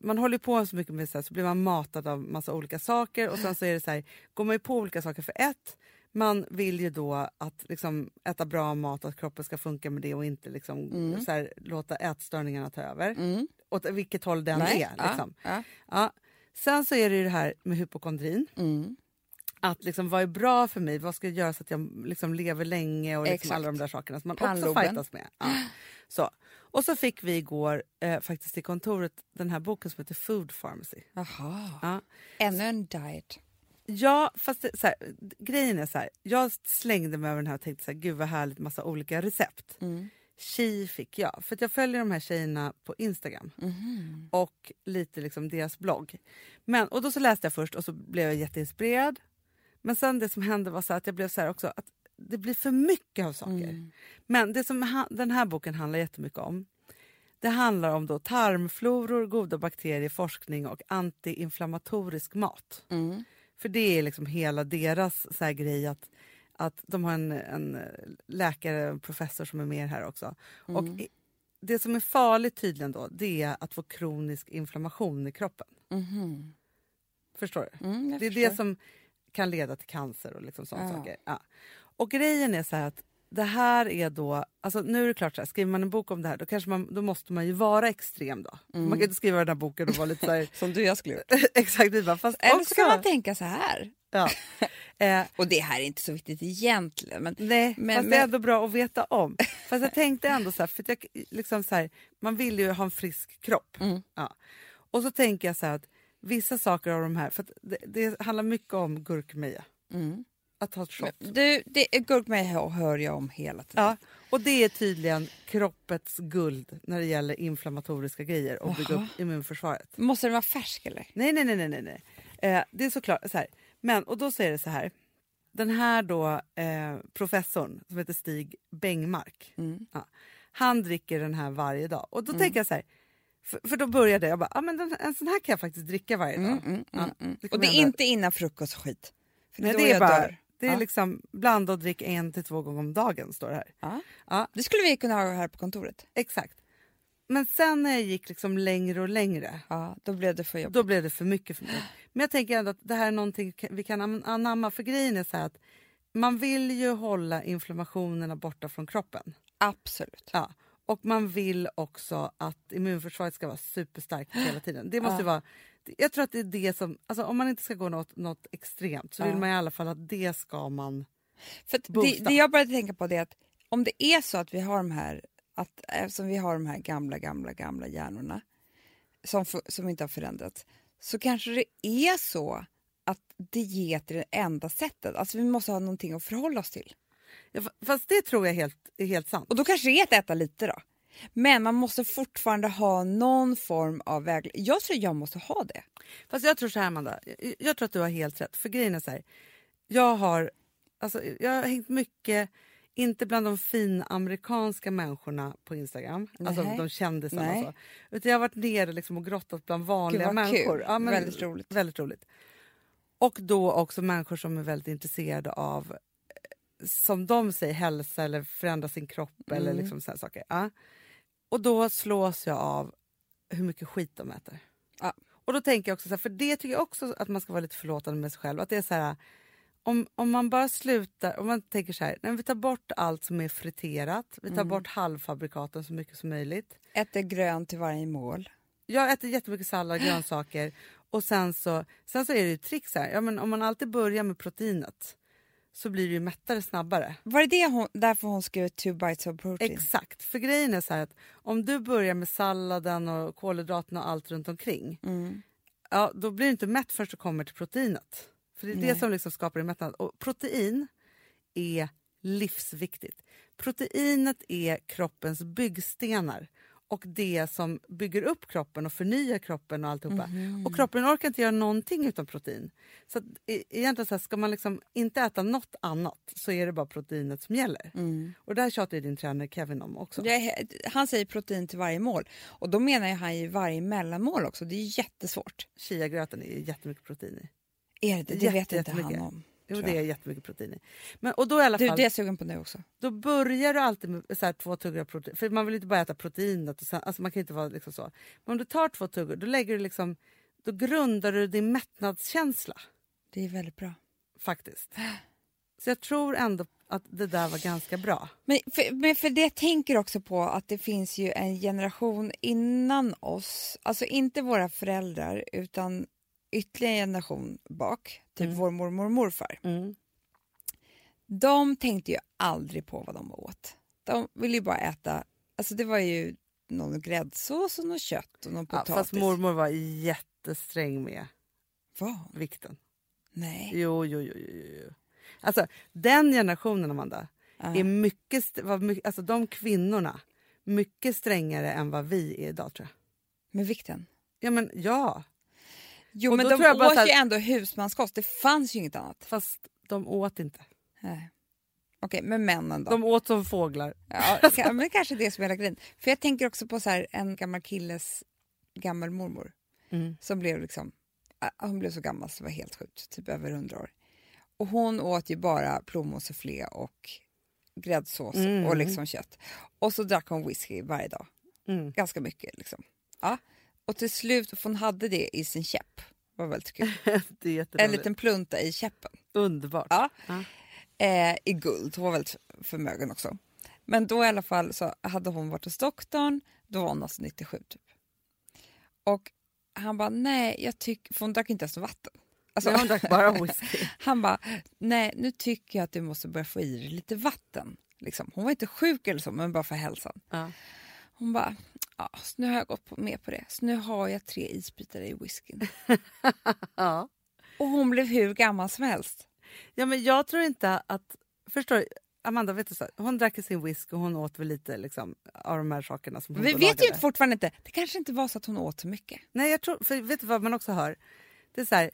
Speaker 1: Man håller ju på så mycket med så här, så blir man matad av massa olika saker och sen så är det så här, går man ju på olika saker för ett, man vill ju då att liksom äta bra mat, att kroppen ska funka med det och inte liksom så här, låta ätstörningarna ta över.
Speaker 2: Mm.
Speaker 1: Åt vilket håll den
Speaker 2: Nej,
Speaker 1: är.
Speaker 2: ja,
Speaker 1: Liksom.
Speaker 2: ja.
Speaker 1: Ja. Sen så är det ju det här med hypokondrin.
Speaker 2: Mm.
Speaker 1: Att liksom, vad är bra för mig? Vad ska jag göra så att jag liksom lever länge? Och liksom
Speaker 2: Exakt.
Speaker 1: alla de där sakerna som man också
Speaker 2: Pannloben.
Speaker 1: fightas med. Ja. Så. Och så fick vi igår eh, faktiskt i kontoret den här boken som heter Food Pharmacy.
Speaker 2: Jaha.
Speaker 1: Ja.
Speaker 2: Ännu en diet.
Speaker 1: Ja, fast det, så här, d- grejen är så här. Jag slängde mig över den här och tänkte så här, gud vad härligt massa olika recept.
Speaker 2: Mm.
Speaker 1: Chi fick jag, för att jag följer de här tjejerna på Instagram och lite liksom deras blogg. Men, och då så läste jag först och så blev jag jätteinspirerad. Men sen det som hände var så här att jag blev så här också att det blir för mycket av saker. Men det som ha, den här boken handlar jättemycket om det handlar om då tarmfloror, goda bakterier, forskning och antiinflammatorisk mat.
Speaker 2: Mm.
Speaker 1: För det är liksom hela deras så här grej att, att de har en, en läkare, en professor som är med här också.
Speaker 2: Mm.
Speaker 1: Och i- det som är farligt tydligen då, det är att få kronisk inflammation i kroppen.
Speaker 2: Mhm.
Speaker 1: Förstår du?
Speaker 2: Mm, jag
Speaker 1: Det är
Speaker 2: förstår.
Speaker 1: det som kan leda till cancer och liksom sådana
Speaker 2: Ja.
Speaker 1: saker. Ja. Och grejen är så här att det här är då, alltså nu är det klart så här, skriver man en bok om det här då, kanske man, då måste man ju vara extrem då.
Speaker 2: Mm.
Speaker 1: Man kan inte skriva den här boken och vara lite så
Speaker 2: [laughs]
Speaker 1: här,
Speaker 2: Som du och jag skulle gjort.
Speaker 1: exakt vi bara, fast
Speaker 2: Eller
Speaker 1: också.
Speaker 2: så kan man tänka så här. [laughs]
Speaker 1: ja. eh,
Speaker 2: Och det här är inte så viktigt egentligen. Men
Speaker 1: Nej,
Speaker 2: Men-
Speaker 1: fast det är
Speaker 2: men-
Speaker 1: ändå bra att veta om. Fast jag tänkte ändå så här, för att jag, liksom så här, man vill ju ha en frisk kropp.
Speaker 2: Mm.
Speaker 1: Ja. Och så tänker jag så här att vissa saker av de här, för att det, det handlar mycket om gurkmeja.
Speaker 2: Mm.
Speaker 1: Att ta ett shot.
Speaker 2: du, det, gurkmeja hör jag om hela tiden.
Speaker 1: Ja, och det är tydligen kroppets guld när det gäller inflammatoriska grejer och bygga
Speaker 2: Jaha.
Speaker 1: upp immunförsvaret.
Speaker 2: Måste den vara färsk eller?
Speaker 1: Nej, nej, nej, nej, nej, nej. Eh, det är såklart så här. Men och då säger det så här. Den här då eh, professorn som heter Stig Bengmark.
Speaker 2: Mm.
Speaker 1: Ja, han dricker den här varje dag och då tänker jag så här. För, för då började jag bara, ah, men den, en sån här kan jag faktiskt dricka varje
Speaker 2: Mm,
Speaker 1: dag. Ja, det
Speaker 2: Och
Speaker 1: kommer
Speaker 2: det
Speaker 1: jag
Speaker 2: är
Speaker 1: ändå-
Speaker 2: inte innan frukost och skit. För
Speaker 1: Nej,
Speaker 2: då
Speaker 1: det är
Speaker 2: jag
Speaker 1: bara,
Speaker 2: dör.
Speaker 1: det är
Speaker 2: Ja.
Speaker 1: liksom blanda och drick en till två gånger om dagen står det här.
Speaker 2: Ja.
Speaker 1: Ja.
Speaker 2: Det skulle vi kunna ha här på kontoret.
Speaker 1: Exakt. Men sen när jag gick liksom längre och längre
Speaker 2: Ja, då blev det för jobbigt.
Speaker 1: Då blev det för mycket för mig. Men jag tänker ändå att det här är någonting ka- vi kan am- anamma. För grejen är så här att man vill ju hålla inflammationerna borta från kroppen.
Speaker 2: Absolut.
Speaker 1: Ja. Och man vill också att immunförsvaret ska vara superstarkt hela tiden. Det måste ju vara, jag tror att det är det som, alltså om man inte ska gå något, något extremt så vill
Speaker 2: Ja.
Speaker 1: man i alla fall att det ska man.
Speaker 2: För att det,
Speaker 1: Boosta.
Speaker 2: det jag började tänka på det är att om det är så att vi har de här, att, eftersom vi har de här gamla, gamla, gamla hjärnorna som, fu- som inte har förändrats, så kanske det är så att diet är det enda sättet. Alltså vi måste ha någonting att förhålla oss till.
Speaker 1: Ja, fa- Fast det tror jag är helt, är helt sant.
Speaker 2: Och då kanske det är att äta lite då. Men man måste fortfarande ha någon form av vägledning. Jag tror jag måste ha det.
Speaker 1: Fast jag tror så här, Amanda. Jag, jag tror att du har helt rätt. För grejen är så här. Jag har, alltså, jag har hängt mycket, inte bland de fin amerikanska människorna på Instagram. Alltså
Speaker 2: Nej.
Speaker 1: de kändisarna.
Speaker 2: Nej.
Speaker 1: och Så. Utan jag har varit nere liksom och grottat bland vanliga
Speaker 2: Gud, vad kul.
Speaker 1: människor.
Speaker 2: Väldigt roligt.
Speaker 1: väldigt roligt. Och då också människor som är väldigt intresserade av eh, som de säger, hälsa eller förändra sin kropp eller
Speaker 2: Mm.
Speaker 1: liksom såna saker. Ja. Och då slås jag av hur mycket skit de äter.
Speaker 2: Ja.
Speaker 1: Och då tänker jag också så här, för det tycker jag också att man ska vara lite förlåtande med sig själv. Att det är så här, om, om man bara slutar, om man tänker så här, nej, vi tar bort allt som är friterat, vi tar
Speaker 2: Mm.
Speaker 1: bort halvfabrikaten så mycket som möjligt.
Speaker 2: Äta grönt till varje mål.
Speaker 1: Jag äter jättemycket sallad, grönsaker och sen så, sen så är det ju ett trick så här, ja, men om man alltid börjar med proteinet så blir det ju mättare snabbare.
Speaker 2: Var det, det hon, därför hon skrev two bites of protein?
Speaker 1: Exakt, för grejen är så här att om du börjar med salladen och kolhydraterna och allt runt omkring,
Speaker 2: Mm.
Speaker 1: ja, då blir du inte mätt förrän du kommer till proteinet. För det är det som liksom skapar din mättnad. Och protein är livsviktigt. Proteinet är kroppens byggstenar. och det som bygger upp kroppen och förnyar kroppen och alltihopa.
Speaker 2: Mhm.
Speaker 1: Och kroppen orkar inte göra någonting utan protein. Så att, e- egentligen så här, ska man liksom inte äta något annat så är det bara proteinet som gäller.
Speaker 2: Mm.
Speaker 1: Och det här tjatar ju din tränare Kevin om också.
Speaker 2: Det är- han säger protein till varje mål och då menar ju han ju varje mellanmål också. Det är jättesvårt.
Speaker 1: Chiagröten är ju jättemycket protein i.
Speaker 2: Är det det? Det
Speaker 1: Jätte-
Speaker 2: vet inte han
Speaker 1: jättemycket.
Speaker 2: om.
Speaker 1: Jo,
Speaker 2: Tror jag.
Speaker 1: det är jättemycket protein i. Men, och då i alla
Speaker 2: Du,
Speaker 1: fall,
Speaker 2: det är jag sugen på nu också.
Speaker 1: då börjar du alltid med så här, två tuggar protein. För man vill inte bara äta proteinet. Och sen, alltså man kan inte vara liksom så. Men om du tar två tuggor, då lägger du liksom, då grundar du din mättnadskänsla
Speaker 2: Det är väldigt bra.
Speaker 1: faktiskt. Så jag tror ändå att det där var ganska bra.
Speaker 2: Men för, men för det jag tänker också på att det finns ju en generation innan oss, alltså inte våra föräldrar utan ytterligare en generation bak, typ vår mormor och morfar. De tänkte ju aldrig på vad de åt. De ville ju bara äta, alltså det var ju någon gräddsås och något kött och någon
Speaker 1: Ja,
Speaker 2: potatis.
Speaker 1: fast mormor var jättesträng med
Speaker 2: Var hon?
Speaker 1: vikten.
Speaker 2: Nej.
Speaker 1: Jo, jo, jo. jo, jo, jo. Alltså, den generationen, Amanda,
Speaker 2: Ja.
Speaker 1: är mycket, st- var mycket, alltså de kvinnorna, mycket strängare än vad vi är idag tror jag.
Speaker 2: Med vikten?
Speaker 1: Ja, men ja.
Speaker 2: Jo,
Speaker 1: Och
Speaker 2: men
Speaker 1: då
Speaker 2: de
Speaker 1: tror jag bara
Speaker 2: åt
Speaker 1: så här-
Speaker 2: ju ändå husmanskost. Det fanns ju inget annat.
Speaker 1: Fast de åt inte.
Speaker 2: Nej. Okej, men männen då?
Speaker 1: De åt som fåglar.
Speaker 2: Ja, ka- men kanske det som är hela grejen. För jag tänker också på så här, en gammal killes gammal mormor
Speaker 1: Mm.
Speaker 2: som blev liksom, ah, hon blev så gammal så det var helt sjukt, typ över 100 år. Och hon åt ju bara plommonsufflé och gräddsås
Speaker 1: Mm.
Speaker 2: och liksom kött. Och så drack hon whisky varje dag,
Speaker 1: Mm.
Speaker 2: ganska mycket liksom. Ja. Och till slut, för hon hade det i sin käpp, var väldigt kul.
Speaker 1: [laughs] Det är
Speaker 2: En
Speaker 1: jätteroligt.
Speaker 2: liten plunta i käppen
Speaker 1: Underbart.
Speaker 2: Ja. eh, i guld. Hon var väldigt förmögen också. Men då i alla fall så hade hon varit hos doktorn, då var hon alltså 97 typ. Och han bara, nej, jag tycker, för hon drack inte ens vatten. Alltså,
Speaker 1: Nej, hon drack
Speaker 2: [laughs]
Speaker 1: bara whisky.
Speaker 2: han bara, nej, nu tycker jag att du måste börja få i dig lite vatten. Liksom. Hon var inte sjuk eller så, men bara för hälsan.
Speaker 1: Ja.
Speaker 2: Hon bara, ja, så nu har jag gått på, med på det. Så nu har jag tre isbitar i whiskyn.
Speaker 1: Ja.
Speaker 2: Och hon blev hur gammal som helst.
Speaker 1: ja, men jag tror inte att... Förstår du? Amanda, vet du så här, hon drack ju sin whisky och hon åt väl lite liksom, av de här sakerna. Som hon
Speaker 2: Vi
Speaker 1: då
Speaker 2: vet ju
Speaker 1: lagade.
Speaker 2: inte, fortfarande inte. Det kanske inte var så att hon åt så mycket.
Speaker 1: Nej, jag tror, för vet du vad man också hör? Det är så här,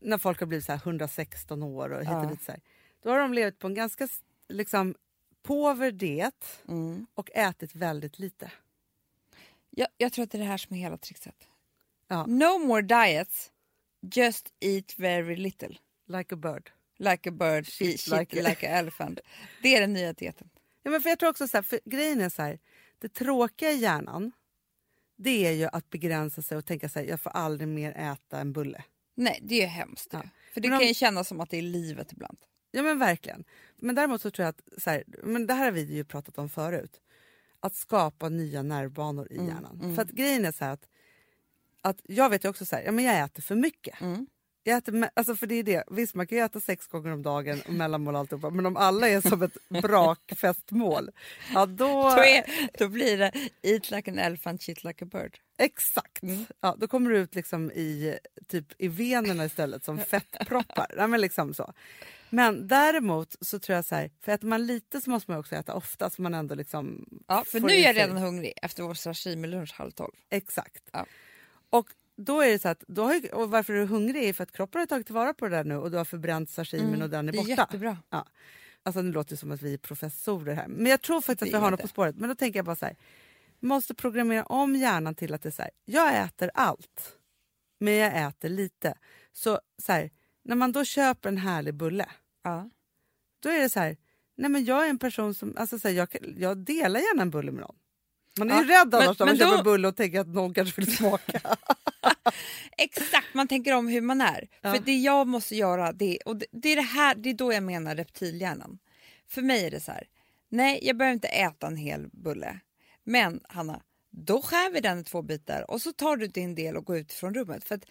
Speaker 1: när folk har blivit så här 116 år och hit och
Speaker 2: Ja.
Speaker 1: dit. Så här, då har de levt på en ganska s- liksom, påver diet och ätit väldigt lite.
Speaker 2: Jag, jag tror att det är det här som är hela trickset.
Speaker 1: Ja.
Speaker 2: No more diets, just eat very little.
Speaker 1: Like a bird.
Speaker 2: Like a bird, shit, shit like,
Speaker 1: like a-
Speaker 2: a elephant. Det är den nya dieten.
Speaker 1: Ja, men för jag tror också så här, för grejen är så här, det tråkiga i hjärnan det är ju att begränsa sig och tänka så här, jag får aldrig mer äta en bulle.
Speaker 2: Nej, det är ju hemskt.
Speaker 1: Ja.
Speaker 2: ju. För det
Speaker 1: Men om-
Speaker 2: kan ju kännas som att det är livet ibland.
Speaker 1: Ja men verkligen. Men däremot så tror jag att, så här, men det här har vi ju pratat om förut, att skapa nya nervbanor
Speaker 2: Mm,
Speaker 1: i hjärnan. För att grejen är så här att, att jag vet ju också så här, ja men jag äter för mycket.
Speaker 2: Mm.
Speaker 1: Jag äter, me- alltså för det är det. Visst man kan ju äta sex gånger om dagen och mellanmål och alltihopa men om alla är som
Speaker 2: [laughs]
Speaker 1: ett brakfestmål, ja då...
Speaker 2: Då, är, då blir det eat like an elephant, shit like a bird.
Speaker 1: Exakt.
Speaker 2: Mm.
Speaker 1: Ja, då kommer du ut liksom i, typ, i venerna istället som fettproppar. Nej, men, liksom så. men däremot så tror jag så här, för äter man lite så måste man också äta ofta så man ändå liksom
Speaker 2: Ja, för
Speaker 1: får
Speaker 2: nu
Speaker 1: i
Speaker 2: är jag
Speaker 1: sig-
Speaker 2: redan hungrig efter vår sashimi-lunch halv tolv.
Speaker 1: Exakt.
Speaker 2: Ja.
Speaker 1: Och då är det så att, då har ju, och varför du är hungrig är för att kroppen har tagit tillvara på det där nu och du har förbränt sashimin och den är
Speaker 2: Mm, Det är
Speaker 1: borta.
Speaker 2: jättebra.
Speaker 1: Ja. Alltså nu låter det som att vi är professorer här, men jag tror faktiskt att
Speaker 2: Det
Speaker 1: vi
Speaker 2: är
Speaker 1: har
Speaker 2: vi
Speaker 1: något
Speaker 2: inte.
Speaker 1: på spåret. Men då tänker jag bara så här, måste programmera om hjärnan till att det är så här, jag äter allt, men jag äter lite. Så, så här, när man då köper en härlig bulle,
Speaker 2: Ja.
Speaker 1: då är det så här, nej men jag är en person som, alltså så här, jag, kan- jag delar gärna en bulle med någon. Man är
Speaker 2: Ja,
Speaker 1: ju rädd
Speaker 2: men-
Speaker 1: annars när man
Speaker 2: men då-
Speaker 1: köper en bulle och tänker att någon kanske vill smaka.
Speaker 2: [laughs] Exakt, man tänker om hur man är.
Speaker 1: Ja.
Speaker 2: För det jag måste göra, det, och det, det, är det, här, det är då jag menar reptilhjärnan. För mig är det så här, nej jag behöver inte äta en hel bulle. Men Hanna, då skär vi den i två bitar och så tar du din del och går ut från rummet. För att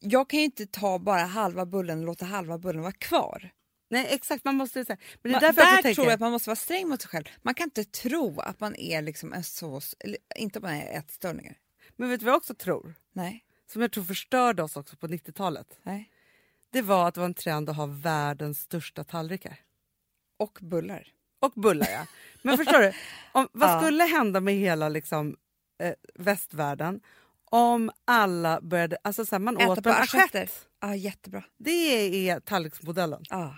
Speaker 2: jag kan ju inte ta bara halva bullen och låta halva bullen vara kvar.
Speaker 1: Nej exakt, man måste säga. Men det
Speaker 2: Man,
Speaker 1: är
Speaker 2: där
Speaker 1: därför jag också
Speaker 2: tror
Speaker 1: tänker,
Speaker 2: jag att man måste vara sträng mot sig själv. Man kan inte tro att man är liksom en sås, eller, inte att man är ätstörningar.
Speaker 1: men vet du vad jag också tror?
Speaker 2: Nej,
Speaker 1: Som jag tror förstörde oss också på 90-talet.
Speaker 2: nej.
Speaker 1: det var att det var en trend att ha världens största tallrikar.
Speaker 2: Och bullar. [laughs]
Speaker 1: Och bullar, ja. Men förstår du? Om, vad
Speaker 2: Ja.
Speaker 1: skulle hända med hela liksom, eh, västvärlden om alla började... Alltså så här, man
Speaker 2: Äta
Speaker 1: åt
Speaker 2: på
Speaker 1: en
Speaker 2: assietter.
Speaker 1: assiett.
Speaker 2: Ja, jättebra.
Speaker 1: Det är tallriksmodellen.
Speaker 2: Ja.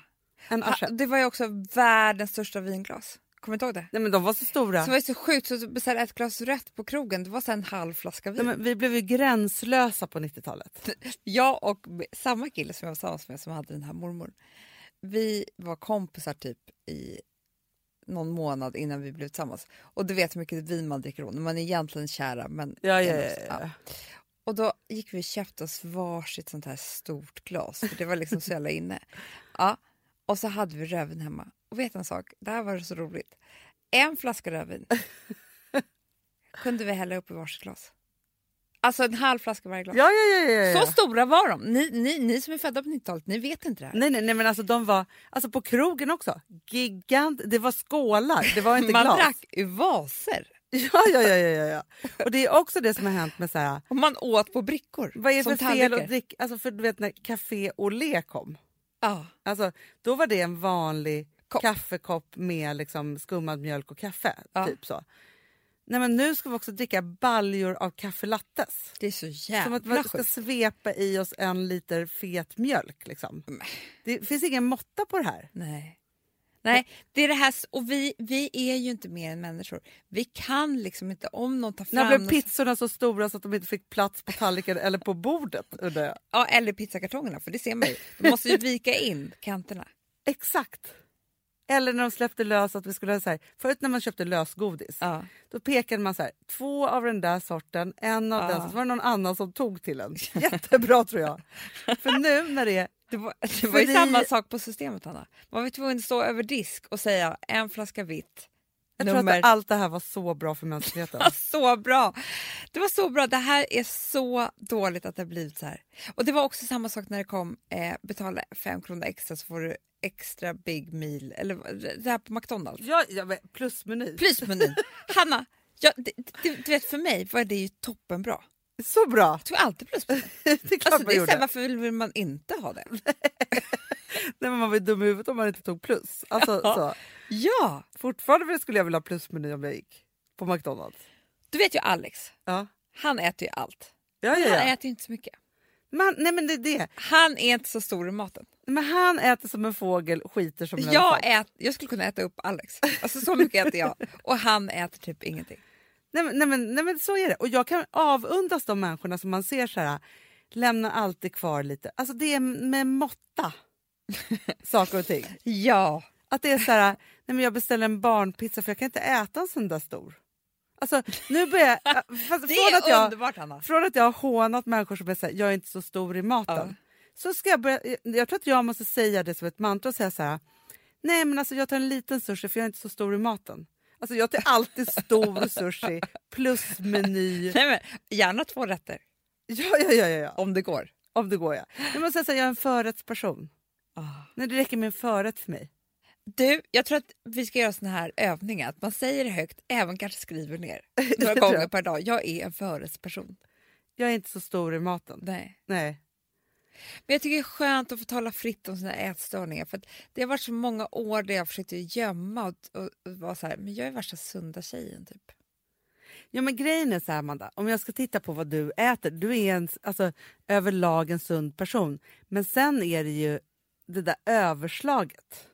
Speaker 1: En
Speaker 2: Ha,
Speaker 1: assiett.
Speaker 2: det var ju också världens största vinglas. Kommer du inte ihåg det?
Speaker 1: Nej, men de var så stora.
Speaker 2: Så det var ju så sjukt, så beställde jag ett glas rött på krogen, det var så en halv flaska vin.
Speaker 1: Nej, men vi blev ju gränslösa på 90-talet.
Speaker 2: Jag och b- samma kille som jag var tillsammans med som hade den här mormor. Vi var kompisar typ i någon månad innan vi blev tillsammans. Och du vet hur mycket vin man dricker då, när man är egentligen kära. Men
Speaker 1: Ja, ja, ja,
Speaker 2: ändå så-
Speaker 1: ja.
Speaker 2: Och då gick vi och köpte oss varsitt sånt här stort glas, för det var liksom så
Speaker 1: [laughs]
Speaker 2: jävla inne. Ja. Och så hade vi rödvin hemma. Och vet en sak, det här var så roligt. En
Speaker 1: [laughs]
Speaker 2: flaska rödvin kunde vi hälla upp i varsitt glas. Alltså en halv flaska varje glas.
Speaker 1: Ja, ja, ja, ja, ja.
Speaker 2: Så stora var de. Ni, ni, ni som är födda på 90-talet, ni vet inte det här.
Speaker 1: Nej, nej, nej, men alltså de var alltså på krogen också. Gigant. Det var skålar, det var inte
Speaker 2: Man
Speaker 1: glas.
Speaker 2: drack ur vaser
Speaker 1: Ja, ja, ja, ja, ja, ja. Och det är också det som har hänt med så här.
Speaker 2: och man åt på brickor.
Speaker 1: Vad är det
Speaker 2: som
Speaker 1: för fel
Speaker 2: tallrikar.
Speaker 1: att dricka? Alltså för du vet när Café Olé kom.
Speaker 2: Ja,
Speaker 1: Alltså, då var det en vanlig
Speaker 2: Kopp.
Speaker 1: kaffekopp med liksom skummad mjölk och kaffe.
Speaker 2: Ja.
Speaker 1: Typ så. Nej, men nu ska vi också dricka baljor av kaffelattes.
Speaker 2: det är så jävla
Speaker 1: Som att man ska
Speaker 2: sjukt.
Speaker 1: svepa i oss en liter fet mjölk. Liksom. Det finns ingen måtta på det här.
Speaker 2: Nej. Nej, det är det här, s- och vi, vi är ju inte mer än människor. Vi kan liksom inte, om någon tar
Speaker 1: När
Speaker 2: fram...
Speaker 1: blev
Speaker 2: något-
Speaker 1: pizzorna så stora så att de inte fick plats på tallriken eller på bordet? Undrar jag.
Speaker 2: ja, eller pizzakartongerna, för det ser man ju. De måste ju vika in kanterna.
Speaker 1: Exakt. Eller när de släppte lös att vi skulle ha så här. Förut när man köpte lösgodis,
Speaker 2: Ja.
Speaker 1: då pekade man så här. Två av den där sorten, en av
Speaker 2: Ja.
Speaker 1: den, så var det någon annan som tog till en. Jättebra tror jag. För nu när det är...
Speaker 2: [laughs] Det var, det var ju
Speaker 1: För det-
Speaker 2: samma sak på systemet, Hanna. Man var ju tvungen att stå över disk och säga en flaska vitt,
Speaker 1: Jag tror
Speaker 2: nummer
Speaker 1: att allt det här var så bra för mänskligheten.
Speaker 2: var [laughs] så bra. Det var så bra. Det här är så dåligt att det har blivit så här. Och det var också samma sak när det kom eh, betala 5 kronor extra så får du extra big meal eller vad- det här på McDonalds.
Speaker 1: Ja, ja, men plusmeny.
Speaker 2: Plusmenyn. Hanna, jag, det, det, du vet för mig var det ju toppenbra.
Speaker 1: Så bra! [laughs]
Speaker 2: Jag tog alltid plusmenyn.
Speaker 1: Det är klart
Speaker 2: Alltså,
Speaker 1: man
Speaker 2: det är så här,
Speaker 1: gjorde.
Speaker 2: varför vill man inte ha det?
Speaker 1: Nej, men man var ju dum i huvudet om man inte tog plus. Alltså,
Speaker 2: Ja.
Speaker 1: så.
Speaker 2: Ja,
Speaker 1: Fortfarande skulle jag vilja ha plusmeny om jag gick på McDonalds.
Speaker 2: du vet ju Alex.
Speaker 1: Ja.
Speaker 2: Han äter ju allt.
Speaker 1: Ja, ja,
Speaker 2: Han
Speaker 1: ja.
Speaker 2: äter ju inte så mycket.
Speaker 1: Man, nej, men det är det.
Speaker 2: Han är inte så stor i maten.
Speaker 1: Men han äter som en fågel, skiter som en elefant.
Speaker 2: Jag, ät, jag skulle kunna äta upp Alex. Alltså så mycket äter jag. Och han äter typ ingenting.
Speaker 1: Nej, men- nej, men, nej, men så är det. Och jag kan avundas de människorna som man ser så här, lämnar alltid kvar lite. Alltså det är med
Speaker 2: [laughs]
Speaker 1: måtta. Saker och ting.
Speaker 2: Ja.
Speaker 1: Att det är så här, nej men jag beställer en barnpizza för jag kan inte äta en sån där stor. Alltså nu börjar jag...
Speaker 2: [laughs]
Speaker 1: Fast,
Speaker 2: Det
Speaker 1: från
Speaker 2: är
Speaker 1: att jag,
Speaker 2: underbart Hanna.
Speaker 1: Från att jag har hånat människor som är så här, jag är inte så stor i maten.
Speaker 2: Ja.
Speaker 1: Så ska jag, börja, jag- jag tror att jag måste säga det som ett mantra och säga så här. Nej men alltså jag tar en liten sushi för jag är inte så stor i maten. Alltså jag tar alltid stor sushi plus meny.
Speaker 2: Nej, men, gärna två rätter
Speaker 1: Ja, ja, ja, ja, ja.
Speaker 2: om det går.
Speaker 1: om det går ja. Nej, men sen, så här, jag är en förrättsperson.
Speaker 2: Ah.
Speaker 1: Nej, det räcker med en förrätt för mig.
Speaker 2: Du, jag tror att vi ska göra såna här övningar. Att man säger det högt, även kanske skriver ner
Speaker 1: [laughs] Det
Speaker 2: några
Speaker 1: tror jag.
Speaker 2: gånger per dag. Jag är en förrättsperson.
Speaker 1: Jag är inte så stor i maten.
Speaker 2: Nej.
Speaker 1: Nej.
Speaker 2: Men jag tycker det är skönt att få tala fritt om sina ätstörningar. För att det har varit så många år där jag försökte gömma och, och, och vara så här, men jag är värsta sunda tjejen typ.
Speaker 1: Ja, men grejen är så här, Amanda, om jag ska titta på vad du äter, du är en, alltså, överlag en sund person. Men sen är det ju det där överslaget.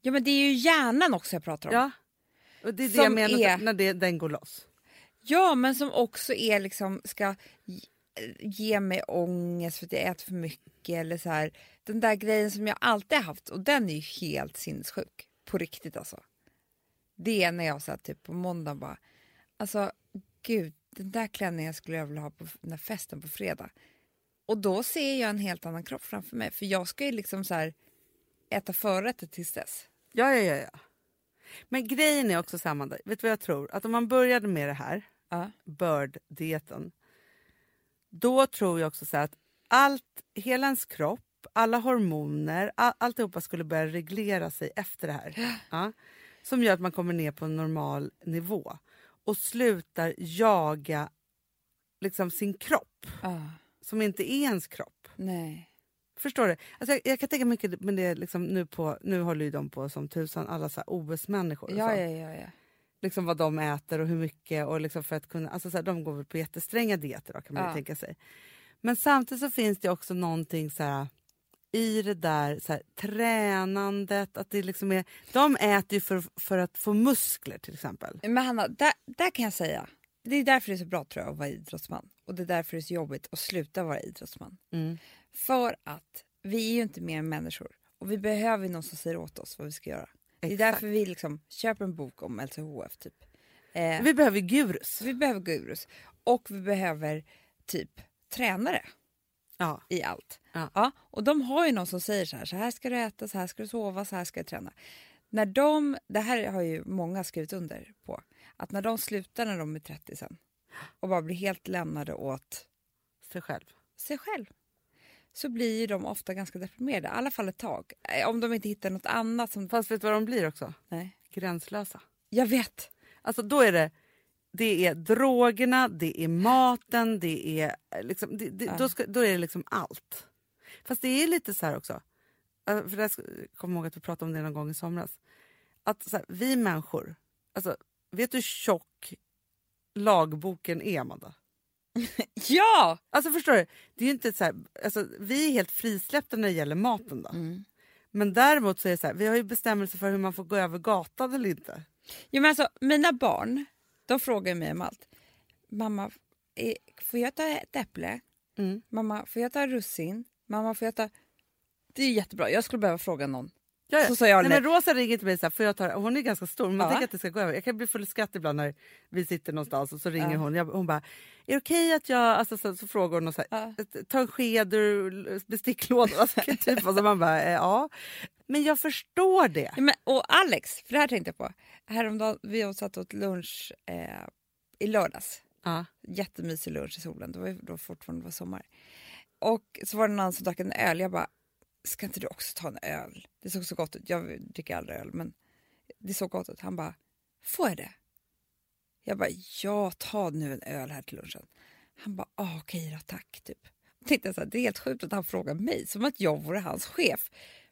Speaker 2: Ja men det är ju hjärnan också jag pratar om.
Speaker 1: Ja. Och det är det
Speaker 2: Som
Speaker 1: jag menar,
Speaker 2: är-
Speaker 1: att- när det, den går loss.
Speaker 2: Ja, men som också är liksom ska ge- ge mig ångest för att jag äter för mycket eller så här. Den där grejen som jag alltid har haft och den är ju helt sinnessjuk. På riktigt alltså. Det är när jag satt typ på måndag bara, alltså gud, den där klänningen skulle jag vilja ha på den här festen på fredag. Och då ser jag en helt annan kropp framför mig för jag ska ju liksom så här äta förrätter tills dess.
Speaker 1: Ja, ja, ja, ja. Men grejen är också så här, Amanda, vet du vad jag tror? Att om man började med det här,
Speaker 2: Ja.
Speaker 1: Bird-dieten, då tror jag också så här att allt, hela ens kropp, alla hormoner, all, alltihopa skulle börja reglera sig efter det
Speaker 2: [gasps]
Speaker 1: här. Ja. Som gör att man kommer ner på en normal nivå och slutar jaga liksom sin kropp,
Speaker 2: Ja,
Speaker 1: som inte är ens kropp.
Speaker 2: nej.
Speaker 1: Förstår du? Alltså jag, jag kan tänka mycket men det är liksom nu på, nu håller ju de på som tusan, alla så här OS-människor. och
Speaker 2: Ja,
Speaker 1: så.
Speaker 2: ja, ja, ja.
Speaker 1: liksom vad de äter och hur mycket. Och liksom för att kunna, alltså så här, de går väl på jättestränga dieter då, kan man ju
Speaker 2: Ja.
Speaker 1: tänka sig. Men samtidigt så finns det också någonting så här, i det där så här, tränandet. Att det liksom är, de äter ju för, för att få muskler till exempel.
Speaker 2: Men Hanna, där, där kan jag säga. Det är därför det är så bra tror jag att vara idrottsman. Och det är därför det är så jobbigt att sluta vara idrottsman.
Speaker 1: Mm.
Speaker 2: För att vi är ju inte mer än människor. Och vi behöver ju någon som säger åt oss vad vi ska göra. Det är
Speaker 1: Exakt.
Speaker 2: därför vi liksom köper en bok om LCHF typ. Eh,
Speaker 1: Vi behöver ju gurus.
Speaker 2: vi behöver gurus. Och vi behöver typ tränare
Speaker 1: Ja.
Speaker 2: i allt.
Speaker 1: Ja.
Speaker 2: och de har ju någon som säger så här, så här ska du äta, så här ska du sova, så här ska du träna. När de, det här har ju många skrivit under på, att när de slutar när de är 30 sen och bara blir helt lämnade åt
Speaker 1: Sig själv.
Speaker 2: sig själv så blir ju de ofta ganska deprimerade, i alla fall ett tag. Eh, Om de inte hittar något annat som...
Speaker 1: Fast vet du vad de blir också?
Speaker 2: Nej.
Speaker 1: Gränslösa.
Speaker 2: Jag vet!
Speaker 1: Alltså då är det, det är drogerna, det är maten, det är eh, liksom, det, det,
Speaker 2: Ja.
Speaker 1: då, ska, då är det liksom allt. Fast det är lite så här också, eh, för det här, sk- jag kommer ihåg att vi pratade om det någon gång i somras. Att så här, vi människor, alltså vet du hur tjock lagboken är Amanda?
Speaker 2: Ja!
Speaker 1: Alltså förstår du? Det är ju inte så här, alltså, vi är helt frisläppta när det gäller maten då.
Speaker 2: Mm.
Speaker 1: Men däremot så är det så här, vi har ju bestämmelser för hur man får gå över gatan eller inte.
Speaker 2: Jo, men alltså, mina barn de frågar mig om allt. Mamma, eh, får jag ta ett äpple?
Speaker 1: Mm.
Speaker 2: Mamma, får jag ta russin? Mamma, får jag ta... Det är jättebra. Jag skulle behöva fråga någon.
Speaker 1: Ja, ja.
Speaker 2: Så sa jag
Speaker 1: Eh, Nej,
Speaker 2: nej.
Speaker 1: men Rosa ringer till mig så här, får jag ta det? Hon är ganska stor, men man
Speaker 2: Ja.
Speaker 1: tänker att det ska gå över. Jag kan bli full i skratt ibland när vi sitter någonstans och så ringer
Speaker 2: Ja.
Speaker 1: hon. Jag, hon bara, är det okej att jag... Alltså, så, så frågar hon och så här,
Speaker 2: Ja.
Speaker 1: ett- ta en sked ur besticklådan. Alltså, [laughs] typ, och så man bara, eh, ja. Men jag förstår det.
Speaker 2: Ja, Men, och Alex, för det här tänkte jag på. Häromdagen, vi satt åt lunch eh, i lördags.
Speaker 1: Ja.
Speaker 2: Jättemysig lunch i solen. Det var ju då fortfarande var sommar. Och så var det någon som drack en öl. Jag bara, ska inte du också ta en öl? Det såg så gott ut. Jag dricker aldrig öl, men det såg gott ut. Han bara, får jag det? Jag bara, ja, ta nu en öl här till lunchen. Han bara, ah, okej då, tack. Typ. Jag tänkte så här, det är helt sjukt att han frågar mig, som att jag vore hans chef.